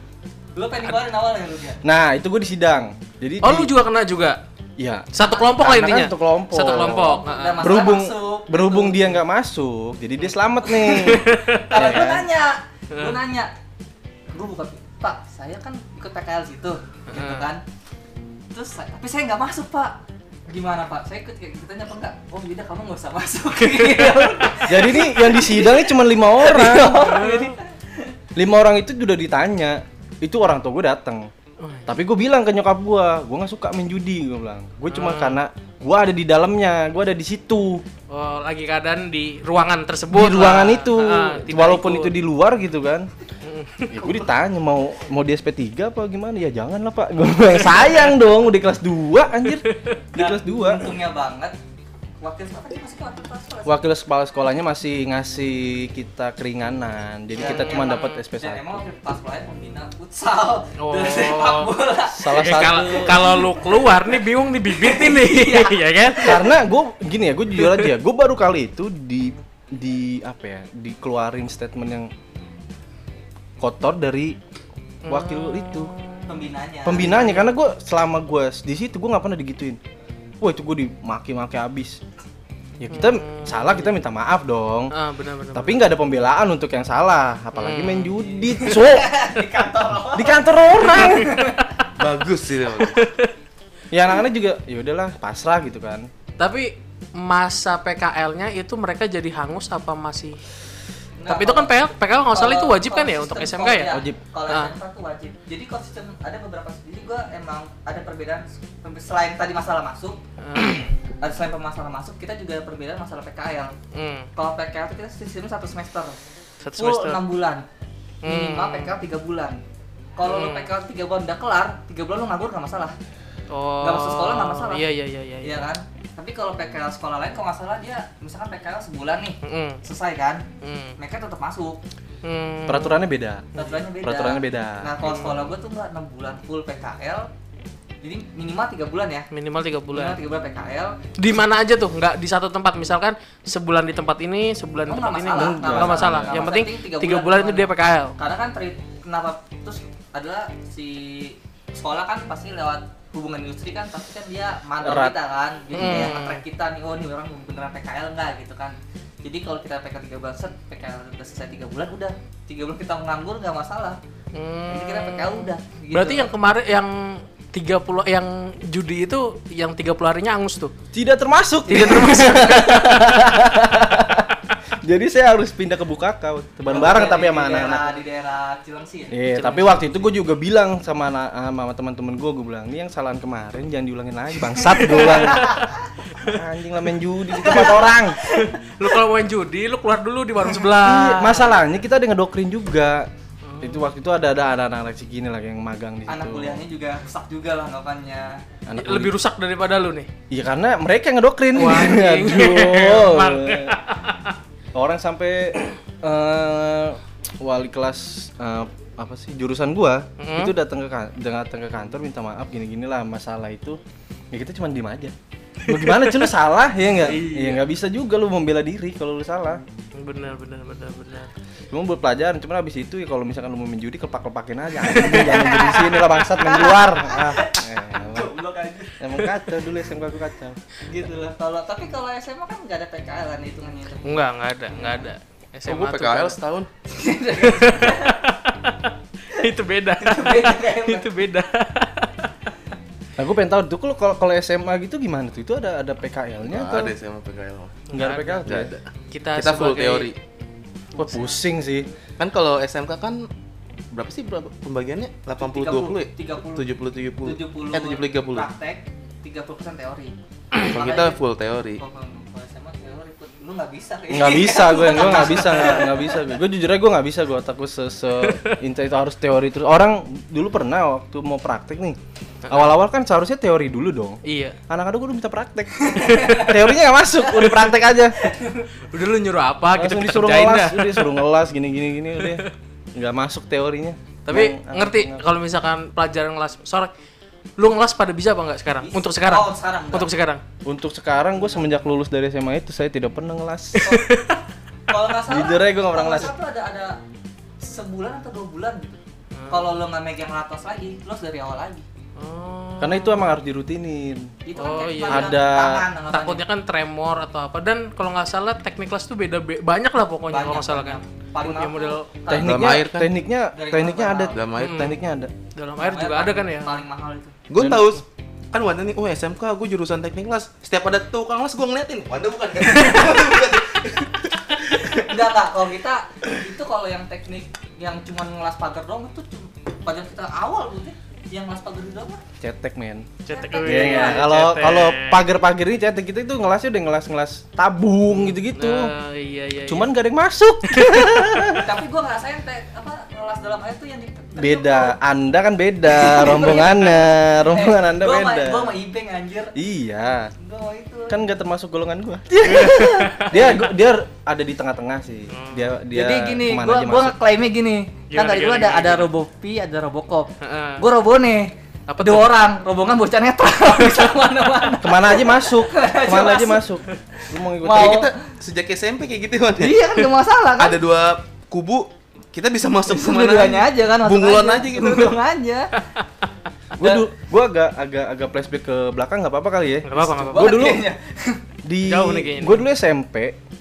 lu pengen dikeluarin awalnya lu Iya, dia nah itu gue di sidang jadi Oh, di- lu juga kena juga. iya Satu kelompok lah Karena kan intinya. satu kelompok. Satu kelompok. Dan heeh. masalah berhubung masuk, berhubung gitu. dia nggak masuk jadi dia selamat nih iya. karena Ya gue kan? nanya gue nanya gue buka pak saya kan ikut PKL situ gitu kan terus saya- tapi saya nggak masuk pak gimana pak saya ikut kayak ikutannya apa enggak oh beda kamu nggak usah masuk Jadi nih yang disidangnya cuma lima orang. lima orang itu udah ditanya. Itu orang tua gue datang. Tapi gue bilang ke nyokap gue, gue nggak suka main judi. Gue bilang, gue Ah. cuma karena gue ada di dalamnya, gue ada di situ Oh, lagi keadaan di ruangan di tersebut. ruangan lah. itu, Ah, tidak walaupun ikut. Hmm. itu di luar gitu kan. ya gue ditanya mau mau di SP3 apa gimana ya jangan lah pak gue bilang sayang dong udah kelas 2 anjir di kelas 2 Nah, untungnya banget wakil apa sih masih wakil kelas wakil kepala sekolahnya masih ngasih kita keringanan jadi kita cuma dapat Dan SP1 emang waktu pas pelayan pembina futsal Oh. dan sepak bola. salah Eh, kalau satu Iya. kalau lu keluar nih bingung nih bibit ini, ya kan? karena gue gini ya gue jujur aja gue baru kali itu di di apa ya dikeluarin statement yang kotor dari wakil itu Pembinanya. pembinanya karena gue selama gue di situ gue nggak pernah digituin wah itu gue dimaki-maki abis ya kita salah kita minta maaf dong Ah, benar-benar. tapi nggak ada pembelaan untuk yang salah apalagi main judi so di kantor orang Bagus sih. Bang. ya anak-anak juga ya udahlah pasrah gitu kan Tapi masa PKL-nya itu mereka jadi hangus apa masih? Nah, Tapi itu kan PKL, PKL nggak salah itu kalau- wajib kan kalau ya sistem untuk SMK sekolah- ya? iya, Wajib. Kalau Ah. SMK tuh wajib. Jadi kalau sistem ada beberapa jadi gua emang ada perbedaan selain tadi masalah masuk, ada selain masalah masuk kita juga ada perbedaan masalah PKL. Hmm, Kalau PKL itu kita sistemnya satu semester. Satu Full semester. 6 bulan. Minimal Hmm. PKL 3 bulan. Kalau lu Hmm. PKL 3 bulan udah kelar, 3 bulan lu nganggur nggak masalah. Oh. Nggak masuk sekolah, nggak masalah. Iya, iya, iya, iya. Iya kan? Tapi kalau PKL sekolah lain kalau nggak salah dia misalkan PKL sebulan nih Mm, selesai kan, mm, mereka tetap masuk. mm. peraturannya beda Peraturannya beda. Peraturannya beda. Nah kalau sekolah gue tuh nggak enam bulan full PKL, jadi minimal tiga bulan ya. minimal tiga Minimal bulan. tiga bulan PKL. Di mana aja tuh? Nggak di satu tempat. Misalkan sebulan di tempat ini, sebulan di Oh, tempat nggak ini masalah, nggak nggak nggak masalah. Yang masalah. penting Nggak masalah, penting tiga tiga bulan bulan itu dia cuma. PKL. Karena kan teri kenapa terus adalah si sekolah kan pasti lewat hubungan industri kan pasti kan dia mantau Erat. kita kan jadi Hmm. kayak nge-track kita nih oh nih orang beneran PKL nggak gitu kan jadi kalau kita PKL tiga bulan set PKL udah selesai tiga bulan udah tiga bulan kita nganggur nggak masalah Hmm. jadi kita PKL udah gitu. Berarti yang kemarin yang 30 yang judi itu yang 30 harinya angus tuh. tidak termasuk tidak termasuk jadi saya harus pindah ke Bukaka teman bareng Di- tapi di sama daerah- anak-anak di daerah Cilengsi ya Iya, tapi waktu itu gue juga bilang sama anak- eh, sama teman-teman gue, gue bilang, "Ini yang kesalahan kemarin jangan diulangin lagi, bangsat." Gue bilang. Anjing lah main judi di tempat orang. Lu kalau main judi, lu keluar dulu di warung Iya, Ah. sebelah. Masalahnya kita ada ngedoktrin juga. Itu waktu itu ada ada anak-anak segini lah yang magang Gitu. di situ. anak kuliahnya juga rusak juga lah anggapannya Anak kuliah. Iya. lebih rusak daripada lu nih. Iya karena mereka yang ngedoktrin. Wah, anjing. Aduh. Emang. Orang sampai eh, wali kelas eh, apa sih jurusan gua Mhm. itu datang ke kan- datang ke kantor minta maaf gini-gini lah masalah itu. Ya kita cuma diem aja. Lu gimana cuy lu salah ya enggak? Iya nggak bisa juga lu membela diri kalau lu salah. Benar, benar, benar, benar. Cuma buat pelajaran, cuman abis itu ya kalau misalkan lu mau menjudi kepak-kepakin aja. Anjing, Jangan jadi di sini lah bangsat main di luar. Ah, emang, goblok aja emang kacau dulu SMK aku kacau. gitu lah kalau tapi kalau SMA kan nggak ada PKL kan hitungannya itu Enggak, enggak ada, enggak ada. Oh, SMA gue tuh PKL kan- setahun. itu beda. beda kayak itu beda. Nah, gue pengen tahu tuh kalau- kalau kalau SMA gitu gimana tuh? Itu ada ada PKL-nya Nggak atau ada sih sama PKL. enggak ada PKL? Nggak ada. Kita, Kita full sebagai- teori. Wah, pusing sih. Kan kalau SMK kan berapa sih berapa pembagiannya? 80 20 ya? 30. 70 70 70. Eh 70 30. Nah, praktek 30 persen teori Oh, Kalau kita full teori. kalau kalau SMA teori pun lu nggak bisa kayak Nggak bisa gue, gue nggak bisa, nggak nggak bisa gue. Gue jujur aja gue nggak bisa gue otak gue se, se inti itu harus teori terus. Orang dulu pernah waktu mau praktek nih. Awal-awal kan seharusnya teori dulu dong. Iya. Anak-anak gue udah minta praktek. Teorinya nggak masuk, udah praktek aja. Udah lu nyuruh apa gitu Langsung kita disuruh kerjain ngelas, dah. udah disuruh ngelas gini gini gini udah. Nggak masuk teorinya. Tapi Yang- ngerti kalau misalkan pelajaran ngelas sore lu ngelas pada bisa apa enggak sekarang? Untuk sekarang. Oh, sekarang, enggak. Untuk sekarang. Untuk sekarang gue semenjak lulus dari SMA itu saya tidak pernah ngelas. kalau nggak salah Jujur aja gua nggak pernah kalau ngelas. salah tuh ada ada Hmm. sebulan atau dua bulan gitu kalau lu nggak megang latos lagi lu harus dari awal lagi Oh. Karena itu emang harus dirutinin. Itu Oh, teknik iya. tangan, Ada anggapannya. takutnya kan tremor atau apa dan kalau nggak salah teknik kelas tuh beda be- banyak lah pokoknya kalau nggak salah kan paling Punya aku model tangan Tekniknya, air kan? tekniknya, Dari tekniknya mana ada. kenal? Dalam air. Hmm. Tekniknya ada. dalam air juga ada kan ya paling mahal itu Gue Dan- tahu kan Wanda nih, oh SMK gue jurusan teknik les. Setiap ada tukang les gue ngeliatin, Wanda bukan kan? enggak enggak kalau kita itu kalau yang teknik yang cuma ngelas pagar doang itu cuma pagar kita awal gitu yang ngelas pagar doang mah Cetek men. cetek Iya, Iya, iya. Eh, Kalau kalau pagar-pagar ini cetek kita itu ngelasnya udah ngelas-ngelas tabung gitu-gitu. Nah, iya, iya, iya. Cuman gak ada yang masuk. tapi gua ngerasain tek apa ngelas dalam air tuh yang di beda. Anda kan beda rombongannya. Rombongan Anda Iya. Eh, gua beda. Gue sama Ibeng anjir. Iya. Gue sama itu. Kan gak termasuk golongan gua. Iya. dia dia ada di tengah-tengah sih. Dia dia Hmm. Jadi gini, kemana gua aja gua masuk. ngeklaimnya gini. Gimana, kan tadi gua gimana, ada gimana, ada gimana? Robopi, ada Robocop. Heeh. Gua Robone. Apa tuh? Dua orang, rombongan bocah netral bisa mana-mana. kemana aja masuk. aja Kemana aja masuk. Lu mau ngikutin Mau. Kayak kita sejak SMP kayak gitu Wanda. Iya kan gak masalah kan. Ada dua kubu, kita bisa masuk kemana Sebenarnya aja kan masuk Bunglon aja gitu. Bunglon aja. Gue gua agak agak agak flashback ke belakang nggak apa-apa kali ya. iya. Nggak apa-apa, nggak apa-apa. Gua dulu Kayaknya. di Jauh nih kayaknya. gue dulu SMP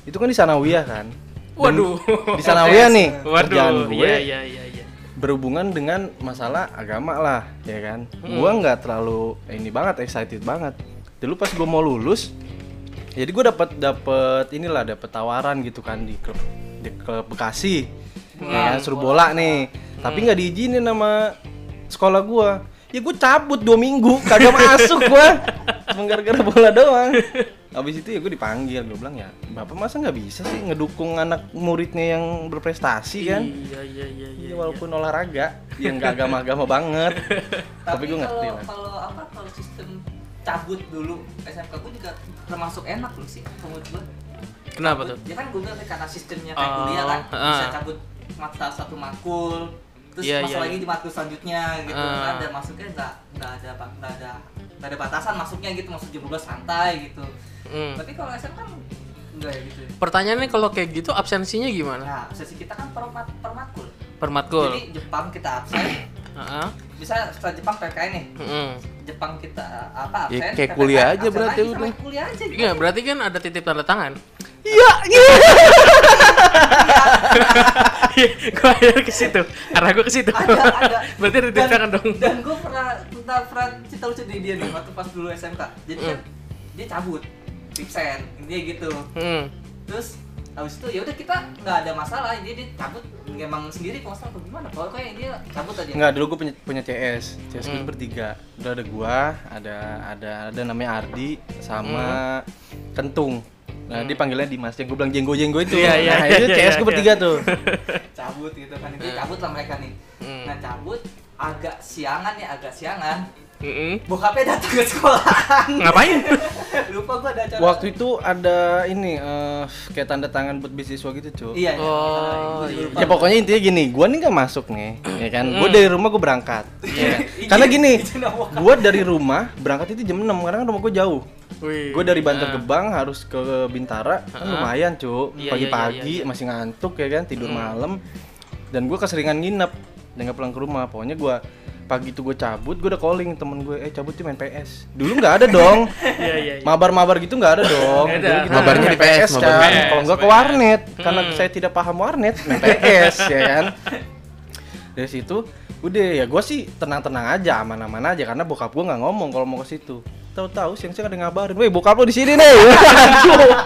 itu kan di Sanawiyah kan. Dan Waduh. Di Sanawiyah nih. kerjaan Waduh, gue iya iya iya iya. berhubungan dengan masalah agama lah, ya kan. Gua nggak terlalu ini banget excited banget. Dulu pas gue mau lulus, jadi gue dapat dapat inilah dapat tawaran gitu kan di klub di klub Bekasi. Ya, kan, suruh bola nih. Tapi nggak diizinin sama sekolah gua. Ya gue cabut dua minggu, kagak masuk gua. Cuma gara-gara bola doang. Habis itu ya gue dipanggil, gue bilang ya, "Bapak masa nggak bisa sih ngedukung anak muridnya yang berprestasi kan?" Iya iya iya iya. Iya, walaupun olahraga yang gak agama-agama banget. Tapi gue ngerti kalau- lah. Kalau apa kalau sistem cabut dulu SMK gue juga termasuk enak loh sih menurut gue. Kenapa tuh? Ya kan gue bilang karena sistemnya kayak Oh, kuliah kan bisa ah. cabut mat- salah satu makul terus Iya, masuk iya, lagi iya. di makul selanjutnya gitu Ah. nggak ada masuknya nggak nggak ada bak- nggak ada nggak ada batasan masuknya gitu masuk jam 12 santai gitu Hmm. tapi kalau SM kan enggak ya gitu ya Pertanyaannya kalau kayak gitu absensinya gimana? nah sesi kita kan per, mat- per makul jadi Permatkul. Jepang kita absen Heeh. bisa setelah Jepang PKN nih Heeh. Jepang kita apa absen Ya, kayak PPKN, kuliah aja absen berarti lagi, sama udah. kuliah aja gitu Iya, berarti kan ada titip tanda tangan. iya. Iya, gua akhirnya ke situ. Arah gua ke situ. ada ada Berarti ada titip tangan dong. dan gue pernah pernah pernah cerita lucu di dia nih waktu pas dulu SMK jadi kan dia cabut tipsen dia gitu Hmm. terus habis itu ya udah kita nggak ada masalah dia dia cabut emang sendiri kalau masalah atau gimana kalau kayak dia cabut aja Enggak, dulu gue punya, punya CS. CS gue Hmm. bertiga. Udah ada gua, ada ada ada namanya Ardi sama Hmm. Kentung. Nah, dipanggilnya Dimas yang gue bilang jenggo-jenggo itu. Iya, iya, nah, iya, itu iya, iya, CS gue iya. bertiga tuh. cabut gitu kan dia cabut lah mereka nih Hmm. nah cabut agak siangan ya agak siangan Mm-mm. bokapnya datang ke sekolahan Ngapain? lupa gue ada acara Waktu itu ada ini eh, kayak tanda tangan buat beasiswa gitu, Cuk. iya iya. Oh, Gua juga iya. lupa. Ya pokoknya intinya gini, gua nih nggak masuk nih, ya kan? Hmm. Gua dari rumah gua berangkat. Iya, ya kan? Karena gini, Izin awal. gua dari rumah berangkat itu jam 6 karena kan rumah gua jauh. Wih. Gue dari Bantar Gebang harus ke Bintara Iya, kan Heeh. lumayan cu Iya, iya, iya, pagi-pagi iya. masih ngantuk ya kan tidur malam dan gue keseringan nginep dan nggak pulang ke rumah pokoknya gue pagi itu gue cabut gue udah calling temen gue eh cabut cuman main PS dulu nggak ada dong Iya iya. iya. mabar-mabar gitu nggak ada dong Nggak ada. Dulu kita Mabarnya main di PS, kan mabar. kalau nggak ke PS. warnet karena Hmm. saya tidak paham warnet main PS ya kan dari situ udah ya gue sih tenang-tenang aja aman-aman aja karena bokap gue nggak ngomong kalau mau ke situ tahu-tahu siang-siang ada ngabarin, weh bokap lo di sini nih, Cuk.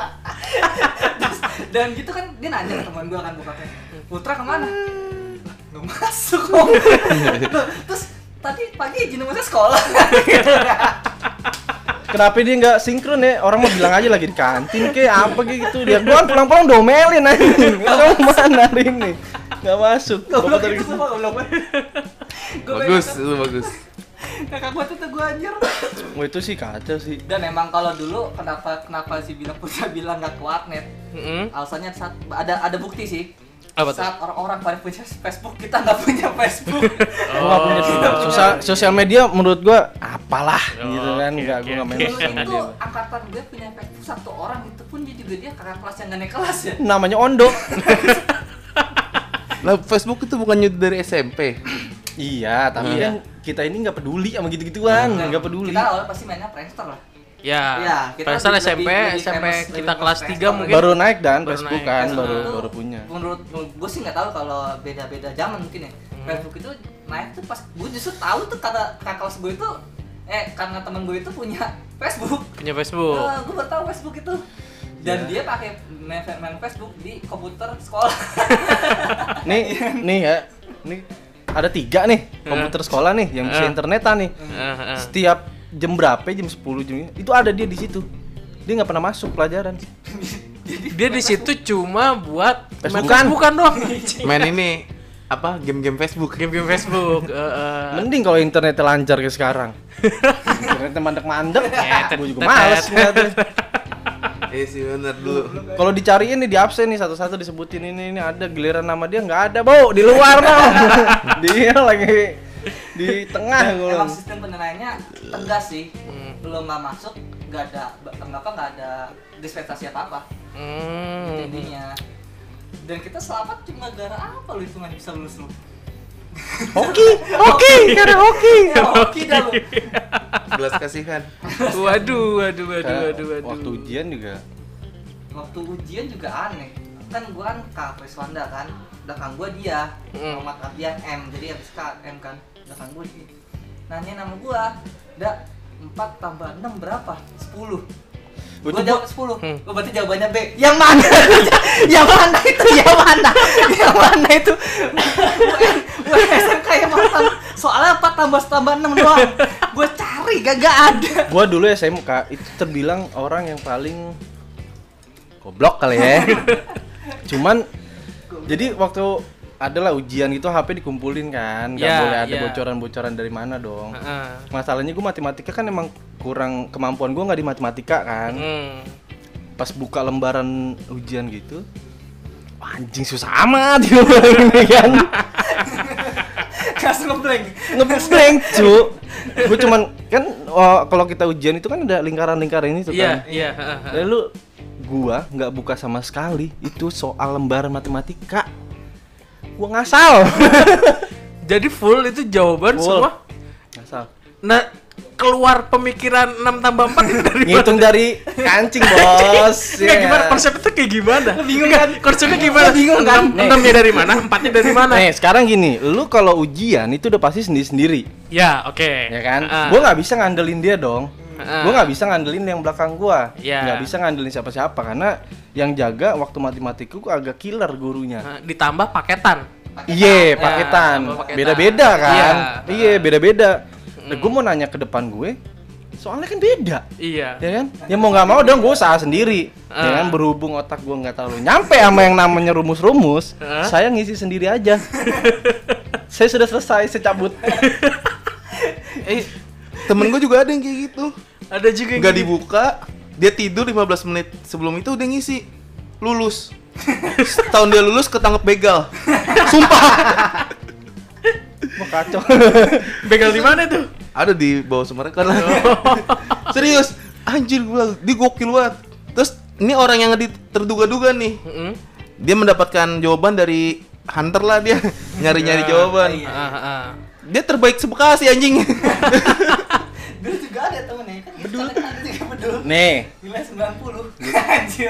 dan gitu kan dia nanya ke teman gue kan bokapnya putra kemana Lah, Hmm. nggak masuk Om. Loh, terus tadi pagi izin sama saya sekolah Kenapa dia nggak sinkron ya? Orang mau bilang aja lagi di kantin kayak apa kayak gitu. Dia doang pulang-pulang domelin anjing. Kamu mana hari ini? Nggak masuk. Bapak goblok tadi gitu. itu semua goblok Gua Bagus, pengen- lu bagus. kakak gue tuh gue anjir Wah Oh, itu sih kacau sih. dan emang kalau dulu kenapa kenapa sih bilang putra bilang nggak ke warnet Mm-mm. alasannya saat ada ada bukti sih Apa tuh? saat orang-orang pada punya Facebook kita nggak punya Facebook Oh, Gua nggak iya, punya Twitter. Susah sosial media menurut gua apalah Oh, gitu kan. oke, Nggak gua oke, nggak main oke. dulu sosial itu media. angkatan gue punya Facebook satu orang itu pun dia juga dia kakak kelas yang gak naik kelas ya Namanya Ondo. Lah Facebook itu bukannya dari SMP. Iya, tapi kan kita ini nggak peduli sama gitu-gituan, Kan, Nah, nggak peduli. Kan, Kita awalnya pasti mainnya prankster lah. Ya, Iya, kita Faisal lebih- SMP, lebih- lebih SMP famous- kita lebih kelas famous 3 Faisal. mungkin. Baru naik dan Baru Facebook naik. Nah. kan, Faisal baru tuh baru punya. Menurut gue sih nggak tahu kalau beda-beda zaman mungkin ya. Facebook itu naik tuh pas gue justru tahu tuh karena kakak kelas gue itu eh karena teman gue itu punya Facebook. Eh, Punya Oh. Facebook. gue baru tahu Facebook itu. Dan Iya. dia pakai main, main Facebook di komputer sekolah. Nih, nih ya, nih ada tiga nih Nah. komputer sekolah nih yang Eh. bisa internetan nih. Heeh, heeh. Setiap jam berapa? Jam 10 jam itu ada dia di situ. Dia nggak pernah masuk pelajaran. Nah. Dia di situ cuma buat Facebookan. bukan doang. Main ini apa game-game Facebook. Game-game Facebook. heeh. Mending kalau internetnya lancar kayak sekarang. internetnya mandek-mandek, Nyetet, gue juga tetet. males ngeliatnya. Iya sih bener dulu. Kalau dicariin nih di absen nih satu-satu disebutin ini ini ada giliran nama dia nggak ada bau di luar dong. dia lagi di tengah gue. Nah, Emang sistem penilaiannya tegas sih. Belum nggak masuk, nggak ada apa nggak ada dispensasi apa apa. Hmm. Jadinya. Dan kita selamat cuma gara apa lu itu nggak bisa lulus lu? Oke, oke, karena oke. Ya, oke dah lu. Belas kasihan. Waduh, waduh, waduh, waduh, waduh. Eh, Waktu ujian juga. Waktu ujian juga aneh. Kan gua kan Kak Priswanda kan, belakang gua dia, Mm. Muhammad Abdian M, jadi MSK M kan, belakang gua dia. Nanya nama gua, "Dak, 4 tambah 6 berapa? 10." Gua Gua tuh jawab 10. Hmm. Gua berarti jawabannya B. Yang mana? yang mana itu? Yang mana? Yang mana itu? Gua kan SMK yang mantan. Soalnya 4 tambah tambah 6 doang. Gua cari gak ada. Gua dulu SMK itu terbilang orang yang paling goblok kali ya. Cuman jadi waktu adalah ujian itu HP dikumpulin kan, nggak Ya, boleh ada ya. bocoran-bocoran dari mana dong. Heeh. Masalahnya gue matematika kan emang kurang kemampuan gue nggak di matematika kan. Hmm. pas buka lembaran ujian gitu "Wah, anjing susah amat gitu ini kan Kasih ngeblank. ngeblank cu gue cuman kan oh, kalau kita ujian itu kan ada lingkaran-lingkaran ini tuh Iya, kan iya, heeh, heeh. lalu gua nggak buka sama sekali itu soal lembaran matematika gua ngasal Jadi full itu jawaban Full. semua. ngasal Nah, keluar pemikiran 6 tambah 4 itu dari ngitung dari kancing bos Nggak, Iya. gimana konsepnya tuh kayak gimana? Bingung kan? Konsepnya gimana? Bingung kan? Enamnya dari mana? Empatnya dari mana? Nih sekarang gini, lu kalau ujian itu udah pasti sendiri-sendiri, Ya, oke. ya kan? Ah. Gua nggak bisa ngandelin dia dong. Ah. Gue nggak bisa ngandelin yang belakang gua, Iya. nggak bisa ngandelin siapa-siapa karena yang jaga waktu matematiku gua agak killer gurunya. Ah, ditambah paketan. Ya, Iya, paketan, sama paketan. beda-beda kan? Iya. Hmm. Iya, beda-beda. Nah, gue mau nanya ke depan gue, soalnya kan beda, Iya. ya kan? Ya mau nggak mau dong gue usaha sendiri, ya Ah. kan? Berhubung otak gue nggak terlalu nyampe sama yang namanya rumus-rumus, Ah. saya ngisi sendiri aja. saya sudah selesai, saya cabut. Eh, temen gue juga ada yang kayak gitu. Ada juga yang Nggak gini. dibuka, dia tidur 15 menit sebelum itu udah ngisi. Lulus. Setahun dia lulus ketangkep begal. Mau kacau. Begal di mana tuh? Ada di bawah Sumerekon lah. Serius, anjir gue bilang, dia gokil banget. Terus ini orang yang nggak di- terduga-duga nih. Heeh. Dia mendapatkan jawaban dari hunter lah dia nyari-nyari jawaban. Ah, ah, ah. Dia terbaik sebekasi anjing. Dulu juga ada temennya kan kita kenal juga bedul. Nih, Nilai 90.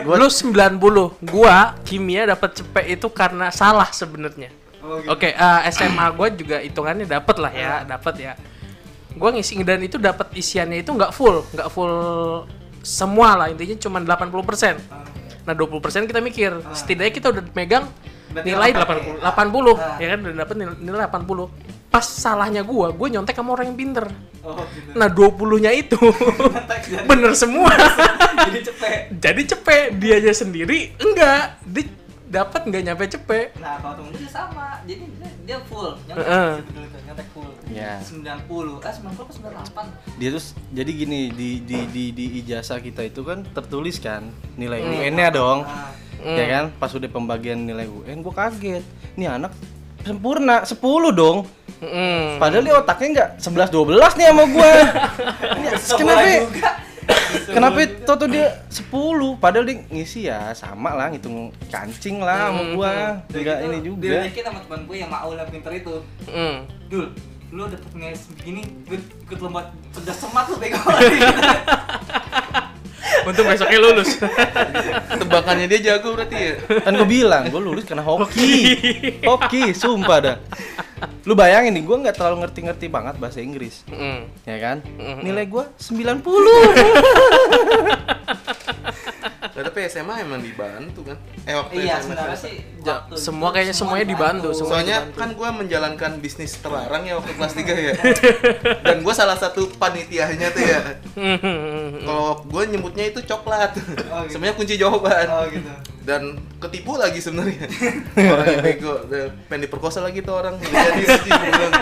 Anjir. Lu 90. Gua kimia dapat cepet itu karena salah sebenarnya. Oh, gitu. Oke, eh, SMA gua juga hitungannya dapat lah ya, dapat ya. Gua ngisi dan itu dapat isiannya itu nggak full, nggak full semua lah intinya cuma 80%. Ah. Nah, 20% kita mikir, setidaknya kita udah megang Berarti nilai 80, 80 80. Ah. ya kan udah dapat nilai, nilai 80. Pas salahnya gua, gua nyontek sama orang yang pinter. Oh, gitu. Nah, 20-nya itu bener semua. Jadi cepet. jadi cepe dia aja sendiri enggak dia dapat nggak nyampe cepe Nah, kalau temen gue sama. Jadi dia- dia full. Heeh. Nyontek si bedul itu, nyontek full. Iya. 90. Eh, 90 ke 98. dia terus jadi gini di di di di ijazah kita itu kan tertulis kan nilai UN-nya dong. Nah, Ya kan? Pas udah pembagian nilai UN gua kaget. Nih anak sempurna 10 dong. Mm. Padahal dia otaknya enggak 11 12 nih sama gua. Ini semua Kenapa? ya? juga. Bisa Kenapa ya? Toto dia 10 padahal dia ngisi ya sama lah ngitung kancing lah sama gua. Enggak gitu. ini juga. Dilihat sama teman gue yang mau lah pinter itu. Hmm. Dul, lu dapet nilai segini, gue ikut lomba cerdas semat lu bego. Iya, Untung besoknya lulus. Tebakannya dia jago berarti ya. Kan gua bilang gua lulus karena hoki. hoki, sumpah dah. Lu bayangin nih gua nggak terlalu ngerti-ngerti banget bahasa Inggris. Hmm. Ya kan? Mm-mm. Nilai gua 90. Nah, tapi SMA emang dibantu kan? Eh waktu SMA. Iya, sebenarnya sih. Ja- waktu semua itu kayaknya semuanya dibantu, semua. Soalnya kan gue menjalankan bisnis terlarang ya waktu kelas 3 ya. Dan gue salah satu panitianya tuh ya. Kalau gue nyebutnya itu coklat. Oh, gitu. Sebenarnya kunci jawaban. Oh gitu. Dan ketipu lagi sebenarnya. orang yang bego. Dan Pengen diperkosa lagi tuh orang. Nggak Jadi anjing, gua bilang.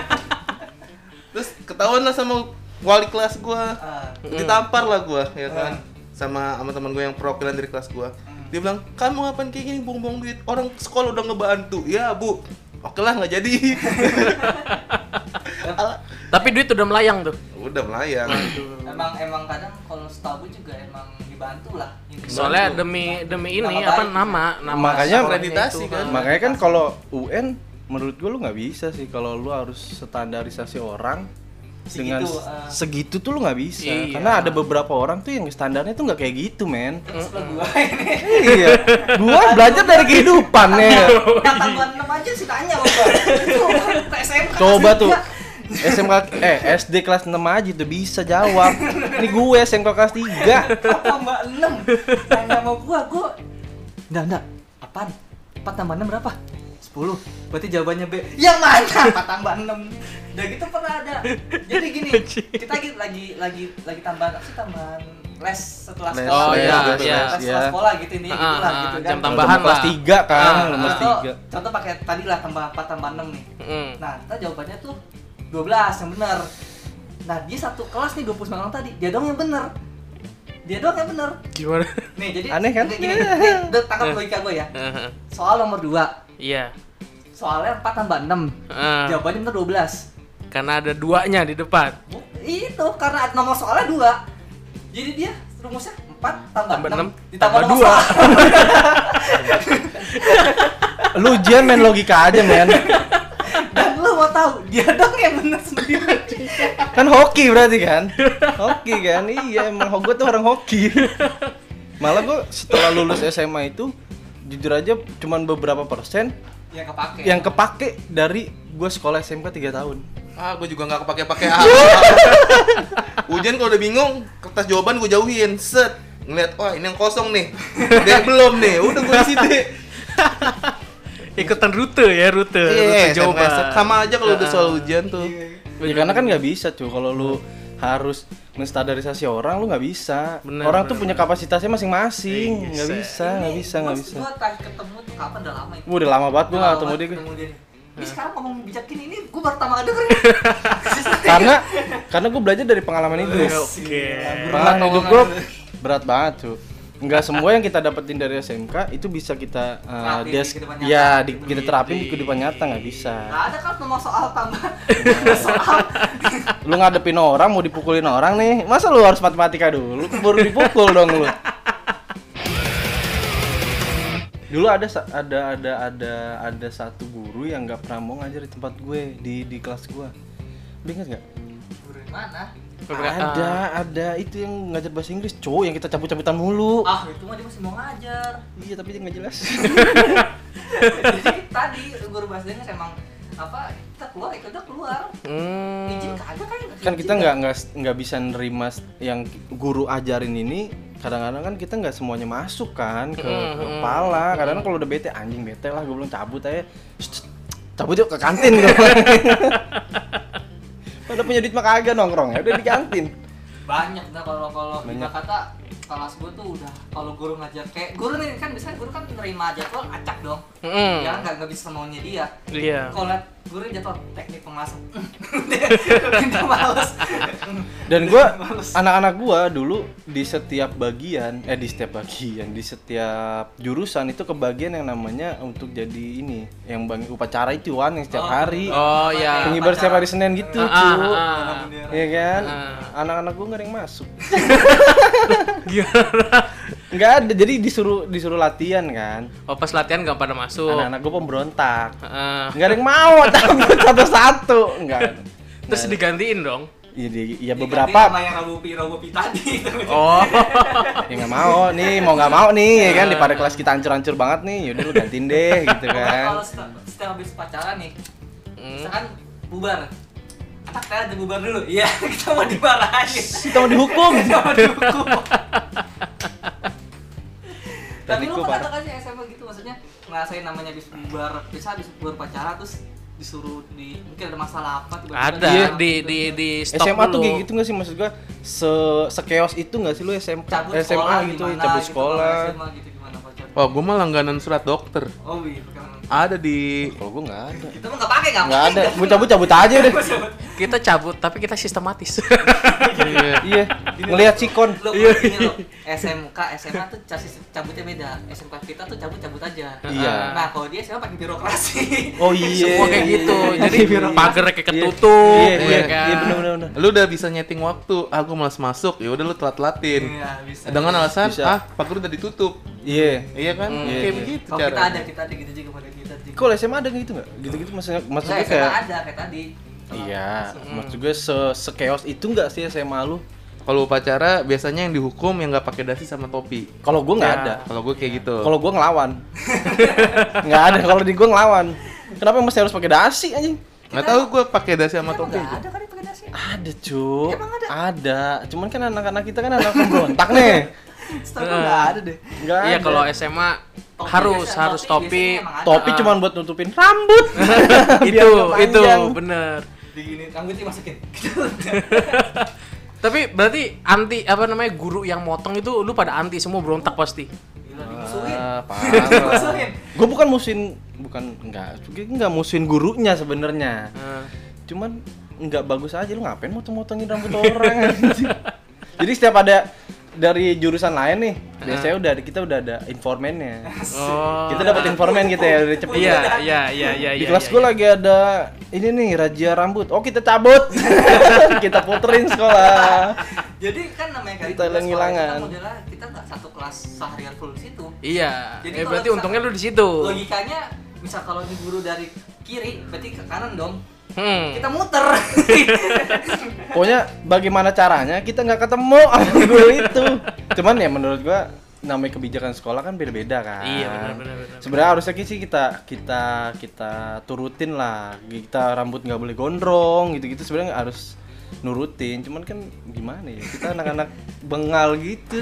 Terus ketahuan lah sama wali kelas gue. Ah. Ditampar lah gue ya kan. Sama sama teman gue yang perwakilan dari kelas gue. Dia bilang, kamu ngapain kayak gini buang-buang duit? Orang sekolah udah ngebantu. Ya bu, oke lah nggak jadi. Ala- Tapi duit udah melayang tuh. udah melayang. Emang emang kadang kalau setahu gue juga emang dibantu lah. Ini. Soalnya demi demi ini Nama apa baik. nama nama Makanya- sekolahnya Akreditasi itu, Ah, kan. ha. Makanya kan kalau UN menurut gua lu nggak bisa sih kalau lu harus standarisasi orang Segitu, dengan eh. segitu tuh lu nggak bisa Iya. karena ada beberapa orang tuh yang standarnya tuh nggak kayak gitu men Terus lah gue ini. iya gua belajar dari kehidupan Iya. ya Tanggal 6 aja sih tanya bapak. Coba SMK. coba tuh SMK eh SD kelas 6 aja tuh bisa jawab ini gue SMK kelas 3 Apa mbak 6? Tanya sama gua, gua. Nggak, nggak. Apaan? 4 tambah 6 berapa? 10. Berarti jawabannya B. Yang mana? 4 tambah 6. Udah gitu pernah ada. Jadi gini, kita lagi lagi lagi lagi tambahan apa sih tambahan les setelah Les, sekolah. Oh, Les iya, iya, setelah sekolah, iya. sekolah gitu ini gitu Ah, lah ah, gitu kan. jam tambahan kelas lah. Ah, 3 kan Nah, kelas contoh, contoh pakai tadi lah tambah 4 tambah 6 nih. Hmm. Nah, kita jawabannya tuh 12 yang benar. Nah, dia satu kelas nih 29 orang tadi. Dia doang yang benar. Dia doang yang benar. Gimana? Nih, jadi Aneh kan? Gini, gini, nih, udah tangkap logika gue ya. Soal nomor 2. Eh, Iya. Soalnya 4 tambah 6. Ah, Jawabannya benar 12. Karena ada duanya di depan. Bu- Itu karena nomor soalnya 2. Jadi dia rumusnya 4 tambah, Tambah 6, enam, tambah ditambah nomor dua. soal. lu ujian main logika aja men Dan lu mau tahu, dia dong yang benar sendiri. kan hoki berarti kan hoki kan iya emang gue tuh orang hoki malah gue setelah lulus SMA itu jujur aja cuman beberapa persen yang Ya, kepake. Ya, yang kepake dari gue sekolah SMK 3 tahun Ah, gue juga nggak kepake-pake apa. Ujian kalau udah bingung, kertas jawaban gue jauhin. Set, ngeliat, wah ini yang kosong nih. Dia belum nih, udah gue isi Iya, deh. Ikutan rute ya, rute. rute Iya, jawaban. SMS. sama aja kalau udah soal ujian tuh. ya karena kan nggak bisa cuy kalau lu harus menstandarisasi orang lu nggak bisa Bener, orang bener, tuh punya kapasitasnya masing-masing nggak Iya, bisa nggak bisa nggak bisa Gue terakhir ketemu tuh kapan udah lama itu. Wah, udah lama banget gue nggak ketemu dia Nah. gue. dia. Ini sekarang ngomong bijak gini, ini gue pertama kali denger. karena karena gue belajar dari pengalaman Iya. itu Oke. Berat Nah, hidup gue berat banget tuh. Enggak semua yang kita dapetin dari SMK itu bisa kita uh, Terapin di dia kehidupan nyata. ya di, kita terapin di kehidupan nyata nggak bisa. Gak ada kan nomor soal tambah. Nomor soal. Lu ngadepin orang mau dipukulin orang nih, masa lu harus matematika dulu baru dipukul dong lu. Dulu ada sa- ada ada ada ada satu guru yang nggak pernah mau ngajar di tempat gue di di kelas gue. Lu ingat nggak? Guru yang mana? Ah. Ada ada itu yang ngajar bahasa Inggris, cowok yang kita cabut-cabutan mulu. Ah, itu mah dia masih mau ngajar. Iya tapi dia nggak jelas. Jadi tadi guru bahasa Inggris emang apa kita keluar itu udah keluar. Hmm. Izin kagak kan? kan kita Iya. nggak nggak nggak bisa nerima s- yang guru ajarin ini kadang-kadang kan kita nggak semuanya masuk kan ke, ke kepala kadang-kadang kalau udah bete anjing bete lah gue belum cabut aja Shh, cabut yuk ke kantin gue udah punya duit mah kagak nongkrong ya udah di kantin banyak dah kalau kalau kita Banyak. kata kelas gue tuh udah kalau guru ngajar kayak guru nih kan biasanya guru kan nerima jadwal acak dong Mm. ya nggak nggak bisa maunya dia Iya. kalau liat guru jadwal teknik pengasuh dia males Iya, dan gue anak-anak gue dulu di setiap bagian eh di setiap bagian di setiap jurusan itu kebagian yang namanya untuk jadi ini yang bang upacara itu kan yang setiap hari Oh ya. pengibar setiap hari Ya, senin gitu Ah, ah, cu. Nah. ah. kan? Iya kan? Anak-anak gue nggak ada yang masuk. Gimana? Nggak ada, jadi disuruh disuruh latihan kan. Oh pas latihan gak pada Oh. masuk. Anak-anak gue pemberontak. Heeh. Nggak ada yang mau cabut satu-satu. Nggak. Terus Nah. digantiin dong. Iya, di- iya Diganti sama beberapa yang Rabu Pi Rabu Pi tadi. Oh. ya nggak mau nih, mau nggak mau nih, ya Ah. kan daripada kelas kita hancur-hancur banget nih, yaudah lu gantiin deh gitu Kalau kan. setelah, setelah habis pacaran nih, Hmm. misalkan bubar. Anak kita ada bubar dulu. Iya, kita mau dimarahin. Kita mau dihukum. Kita mau dihukum. Tapi lu Teknikku pernah parah. nggak sih SMA gitu maksudnya ngerasain namanya habis bubar, bisa habis bubar pacaran terus disuruh di mungkin ada masalah apa Ada dilarang Iya, di gitu. di di stop SMA tuh dulu. kayak gitu nggak sih maksud gua se sekeos itu nggak sih lu SMA cabut SMA sekolah gitu gimana, cabut gitu, sekolah kalau SMA gitu gimana pacar Oh, gue mah langganan surat dokter. oh iya perkenalan. Ada di kalau gua nggak ada kita mah nggak pakai nggak nggak ada pakai. gua cabut cabut aja deh Kita cabut tapi kita sistematis. Iya. iya ngelihat sikon lo iya. lo SMK SMA tuh casis cabutnya beda SMK kita tuh cabut cabut aja Iya. nah kalau dia SMA pakai birokrasi oh iya Semua kayak gitu. Jadi Iya. pagar kayak Iya. ketutup Iya, ya iya kan. iya bener bener bener Lu udah bisa nyeting waktu. Aku malas masuk. Ya udah lu telat-telatin. Iya, bisa. Dengan alasan Bisa. ah, pagar udah ditutup. iya Iya kan? Hmm, Kayak iya, begitu kalau kita ada kita ada gitu juga pada kita juga kalau SMA ada gitu nggak gitu gitu maksudnya Nah, maksudnya SMA kayak ada kayak tadi iya maksud gue se sekeos itu nggak sih SMA lu Kalau upacara biasanya yang dihukum yang nggak pakai dasi sama topi. kalau Iya. gua nggak ada Kalau gue kayak gitu. Ah. kalau gua ngelawan nggak ada kalau di gua ngelawan kenapa masih harus pakai dasi anjing nggak tahu gue pakai dasi sama Emang topi. nggak aja. ada kan yang pakai dasi ada cuk Emang ada? ada cuman kan anak-anak kita kan anak pemberontak nih setahu gue nggak ada deh Nggak Iya ada. kalau SMA Topi harus biasa- harus topi. biasanya emang ada. topi Ah. cuman buat nutupin rambut itu Biar itu panjang. bener. di gini rambutnya masukin Tapi berarti anti apa namanya guru yang motong itu lu pada anti semua berontak pasti. gila dimusuhin Ah, parah. dimusuhin gue bukan musuhin bukan enggak gue enggak musuhin gurunya sebenarnya Eh, cuman enggak bagus aja lu ngapain motong-motongin rambut orang anjing? jadi setiap ada dari jurusan lain nih biasanya udah ada- kita udah ada informannya Oh. kita dapat informan gitu ya udah cepet Iya, iya, iya, iya, di iya, kelas iya, gue iya. lagi ada ini nih razia rambut oh kita cabut kita puterin sekolah jadi kan namanya kayak Kita hilang- hilangan. kita modelnya kita nggak satu kelas seharian full di situ Iya. Jadi eh, kalau berarti misal- untungnya lu di situ. logikanya misal kalau ini guru dari kiri berarti ke kanan dong Hmm. kita muter Pokoknya bagaimana caranya kita nggak ketemu sama guru itu. Cuman ya menurut gua namanya kebijakan sekolah kan beda-beda kan. Iya, benar, benar, benar. Sebenarnya harusnya sih kita kita kita turutin lah. Kita rambut nggak boleh gondrong gitu-gitu sebenarnya nggak harus nurutin. Cuman kan gimana ya? Kita anak-anak bengal gitu.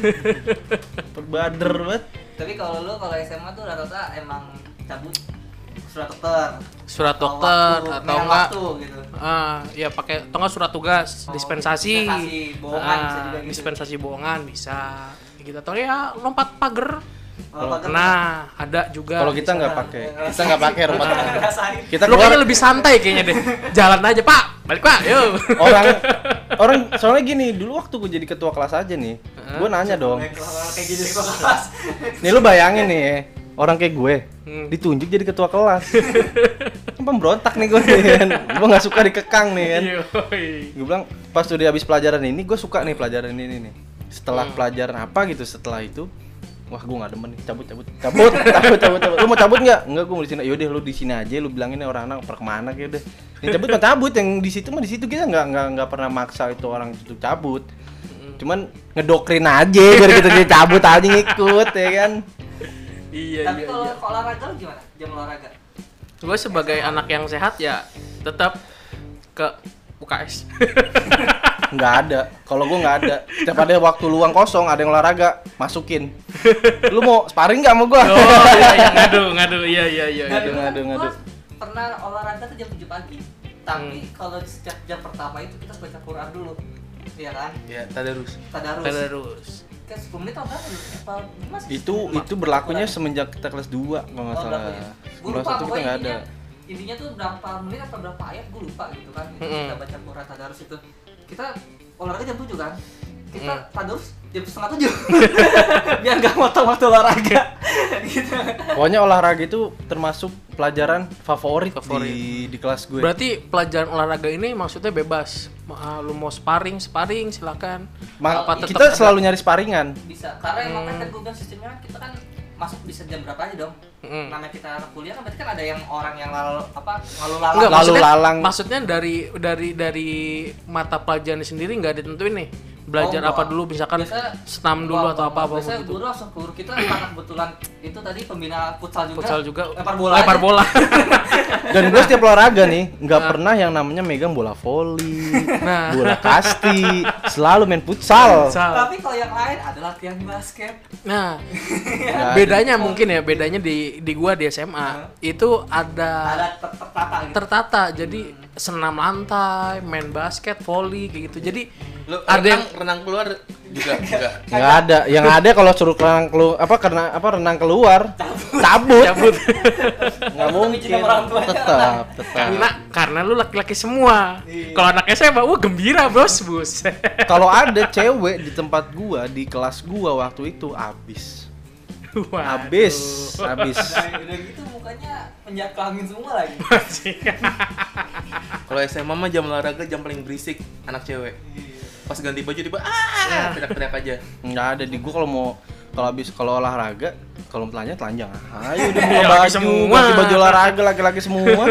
Perbader banget. tapi kalau lu kalau SMA tuh rata-rata emang cabut surat dokter Surat Atau dokter waktu, atau merah enggak waktu, gitu. Ah, ya pakai atau enggak surat tugas, Oh, dispensasi. dispensasi, bohongan bisa Ah, juga gitu. Dispensasi bohongan bisa. Kayak Gitu atau ya lompat pagar. Kalau pagar Nah, ada juga. Kalau kita nggak pakai, kita nggak pakai rumah tangga. Gitu ngerasain Kita lu keluar kayaknya lebih santai kayaknya deh. Jalan aja, Pak. Balik, Pak. Yuk. orang orang soalnya gini dulu waktu gue jadi ketua kelas aja nih, gue nanya dong. Kayak kalau- kayak gini di kelas Nih lu bayangin nih ya, orang kayak gue Hmm. ditunjuk jadi ketua kelas. kan pemberontak nih gue nih kan. Gue gak suka dikekang nih Iya. kan. Yoi. Gue bilang pas udah habis pelajaran ini gue suka nih pelajaran ini nih. Setelah pelajaran apa gitu setelah itu Wah, gue gak demen nih. Cabut, cabut, cabut, cabut, cabut, cabut. Lu mau cabut nggak? Enggak, gue mau di sini. Yaudah, lu di sini aja. Lu bilangin nih orang anak perkemana kayak udah. gitu Yang cabut mah cabut. Yang di situ mah di situ kita nggak nggak nggak pernah maksa itu orang itu cabut. Cuman ngedoktrin aja biar kita dia cabut aja ngikut ya kan. Iya, tapi iya, kalau iya. kalau olahraga lu gimana jam olahraga Gue sebagai anak yang sehat ya tetap ke UKS. nggak ada kalau gue nggak ada setiap ada waktu luang kosong ada yang olahraga masukin lu mau sparring nggak sama gue Oh iya, iya ngadu ngadu iya iya iya. Dan iya. dulu kan ngadu, gua ngadu. pernah olahraga tuh jam 7 pagi tapi kalau setiap jam pertama itu kita baca Quran dulu iya kan Ya, tadarus. tadarus Terus. kan 10 menit apa apa masih itu 10 menit? itu berlakunya semenjak kita kelas 2 kalau Oh, nggak salah berapa ya? kelas Gua satu lupa kita pokoknya nggak ada intinya, intinya tuh berapa menit atau berapa ayat gue lupa gitu kan Itu Mm-mm. kita baca Quran tadarus itu kita olahraga jam Mm. 7 kan kita tadarus jam setengah tujuh biar gak motong waktu olahraga gitu. Pokoknya olahraga itu termasuk pelajaran favorit, Favorit. di di kelas gue. Berarti pelajaran olahraga ini maksudnya bebas. Ma- ah, Lu mau sparring, sparring silakan. Ma- Apa tetap kita ada- selalu nyari sparingan. bisa karena emang Mm. kan tadi gua bilang sistemnya kita kan masuk bisa jam berapa aja dong Mm. namanya kita anak kuliah kan berarti kan ada yang orang yang lalu apa lalu lalang Enggak, Lalu maksudnya- lalang. Maksudnya dari dari dari mata pelajaran sendiri nggak ditentuin nih. Belajar Oh, apa enggak. dulu misalkan Biasanya- senam dulu Wah, atau apa apa biasanya gitu. guru langsung guru kita karena kebetulan itu tadi pembina futsal juga Futsal juga kan lempar bola Lempar aja. bola. Dan gue setiap olahraga nih nggak pernah yang namanya megang bola voli, Nah. bola kasti, selalu main futsal. Futsal. tapi kalau yang lain adalah tiang basket Nah, Nah, bedanya mungkin ya, bedanya di di gua di SMA itu ada ada ter- tertata gitu tertata. Jadi senam lantai, main basket, volley kayak gitu. Jadi Lu ada yang renang- renang keluar juga enggak. Nggak ada, yang ada kalau suruh renang keluar apa karena apa renang keluar cabut, cabut nggak mungkin sama orang tuanya. Nah. tetap tetap. karena karena lu laki-laki semua. Iya. Kalau anak SMA wah gembira, Bos, Bus. Kalau ada cewek di tempat gua di kelas gua waktu itu abis, Wah. abis, abis. Nah, udah gitu mukanya penjahat kelamin semua lagi Kalau SMA mah jam olahraga jam paling berisik anak cewek. Pas ganti baju tiba ah teriak-teriak aja. Nggak ada di gua kalau mau kalau abis kalau olahraga kalau telanjang telanjang. Ayo udah buka Laki-laki baju, semua. ganti baju olahraga laki-laki semua.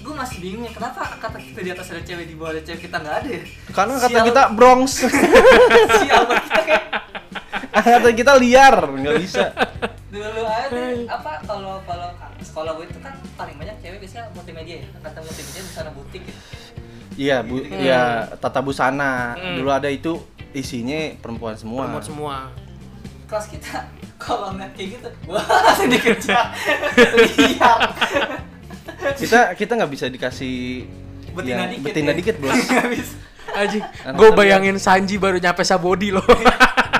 gue masih bingung ya kenapa kata kita di atas ada cewek di bawah ada cewek kita nggak ada ya Karena kata Sial. kita Bronx, sial banget kita ya? kayak kata kita liar, nggak bisa. dulu aja deh, apa kalau kalau sekolah gue itu kan paling banyak cewek biasanya multimedia ya kata multimedia di sana butik ya Iya, bu, ya tata busana dulu ada itu isinya perempuan semua. Promote semua. kelas kita kalau ngeliat kayak gitu wah langsung dikejar liar Kita kita nggak bisa dikasih Betina yang- dikit betina ya. dikit bos. Nggak bisa. Anjing, Anak gue tapi bayangin Sanji baru nyampe Sabodi loh. Iya.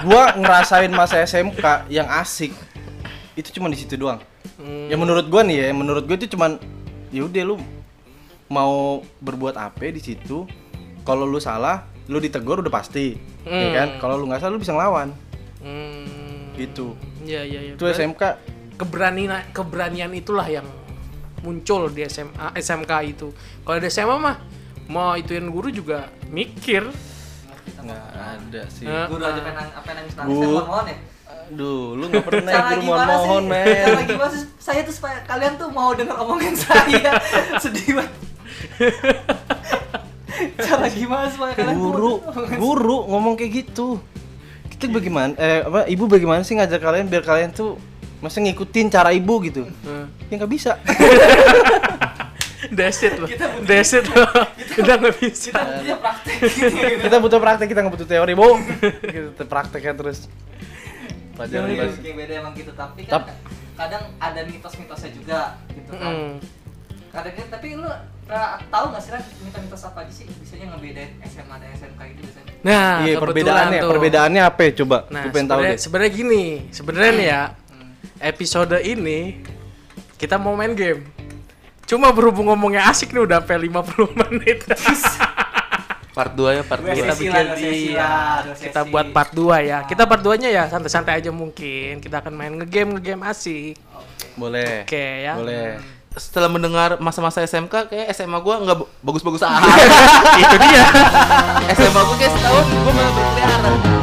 gua ngerasain masa SMK yang asik itu cuma di situ doang. Ya menurut gua nih ya, menurut gua itu cuman ya udah lu mau berbuat apa di situ. Kalau lu salah, lu ditegur udah pasti. Ya Hmm. kan? Kalau lu nggak salah lu bisa ngelawan. Hmm. Gitu. Iya, iya, iya. Itu SMK Keberanian keberanian itulah yang muncul di SMA SMK itu. Kalau di SMA mah mau ituin guru juga mikir. nggak ada sih. Nah, guru aja pengen nang- apa nangis nangis Gua- mohon mohon ya Aduh, lu nggak pernah cara guru gimana sih mohon-mohon, men. cara gimana sih saya tuh supaya kalian tuh mau denger omongan saya sedih banget cara gimana supaya kalian tuh mau guru denger omongan guru ngomong kayak gitu kita bagaimana eh apa ibu bagaimana sih ngajak kalian biar kalian tuh masa ngikutin cara ibu gitu eh, Hmm. ya nggak bisa That's it loh. That's it loh. Udah nggak bisa. saya? dia praktek gitu ya. kita butuh praktek kita nggak butuh teori bu kita prakteknya terus Iya, pelajaran iya, kelas. kayak beda emang gitu tapi kan Tap- kadang ada mitos-mitosnya juga gitu kan Hmm. kadang kan tapi lu pernah tahu nggak sih Ran, mitos-mitos apa aja sih biasanya ngebedain SMA dan SMK itu gitu biasanya Nah, iya kebetulan perbedaannya tuh. perbedaannya apa ya? coba Nah, gue pengen tahu sebenarnya- deh sebenarnya gini, sebenarnya nih ya episode ini kita mau main game. Cuma berhubung ngomongnya asik nih udah sampai 50 menit. Part 2 ya, part Dua 2. kita sesi bikin lah, dua di sesi lah, dua kita sesi. buat part 2 ya. Kita part 2-nya ya santai-santai aja mungkin. Kita akan main ngegame ngegame asik. boleh Oke ya. boleh Setelah mendengar masa-masa SMK kayak SMA gua nggak bagus-bagus amat. Itu dia. SMA gua kayak setahun gua malah berkeliaran.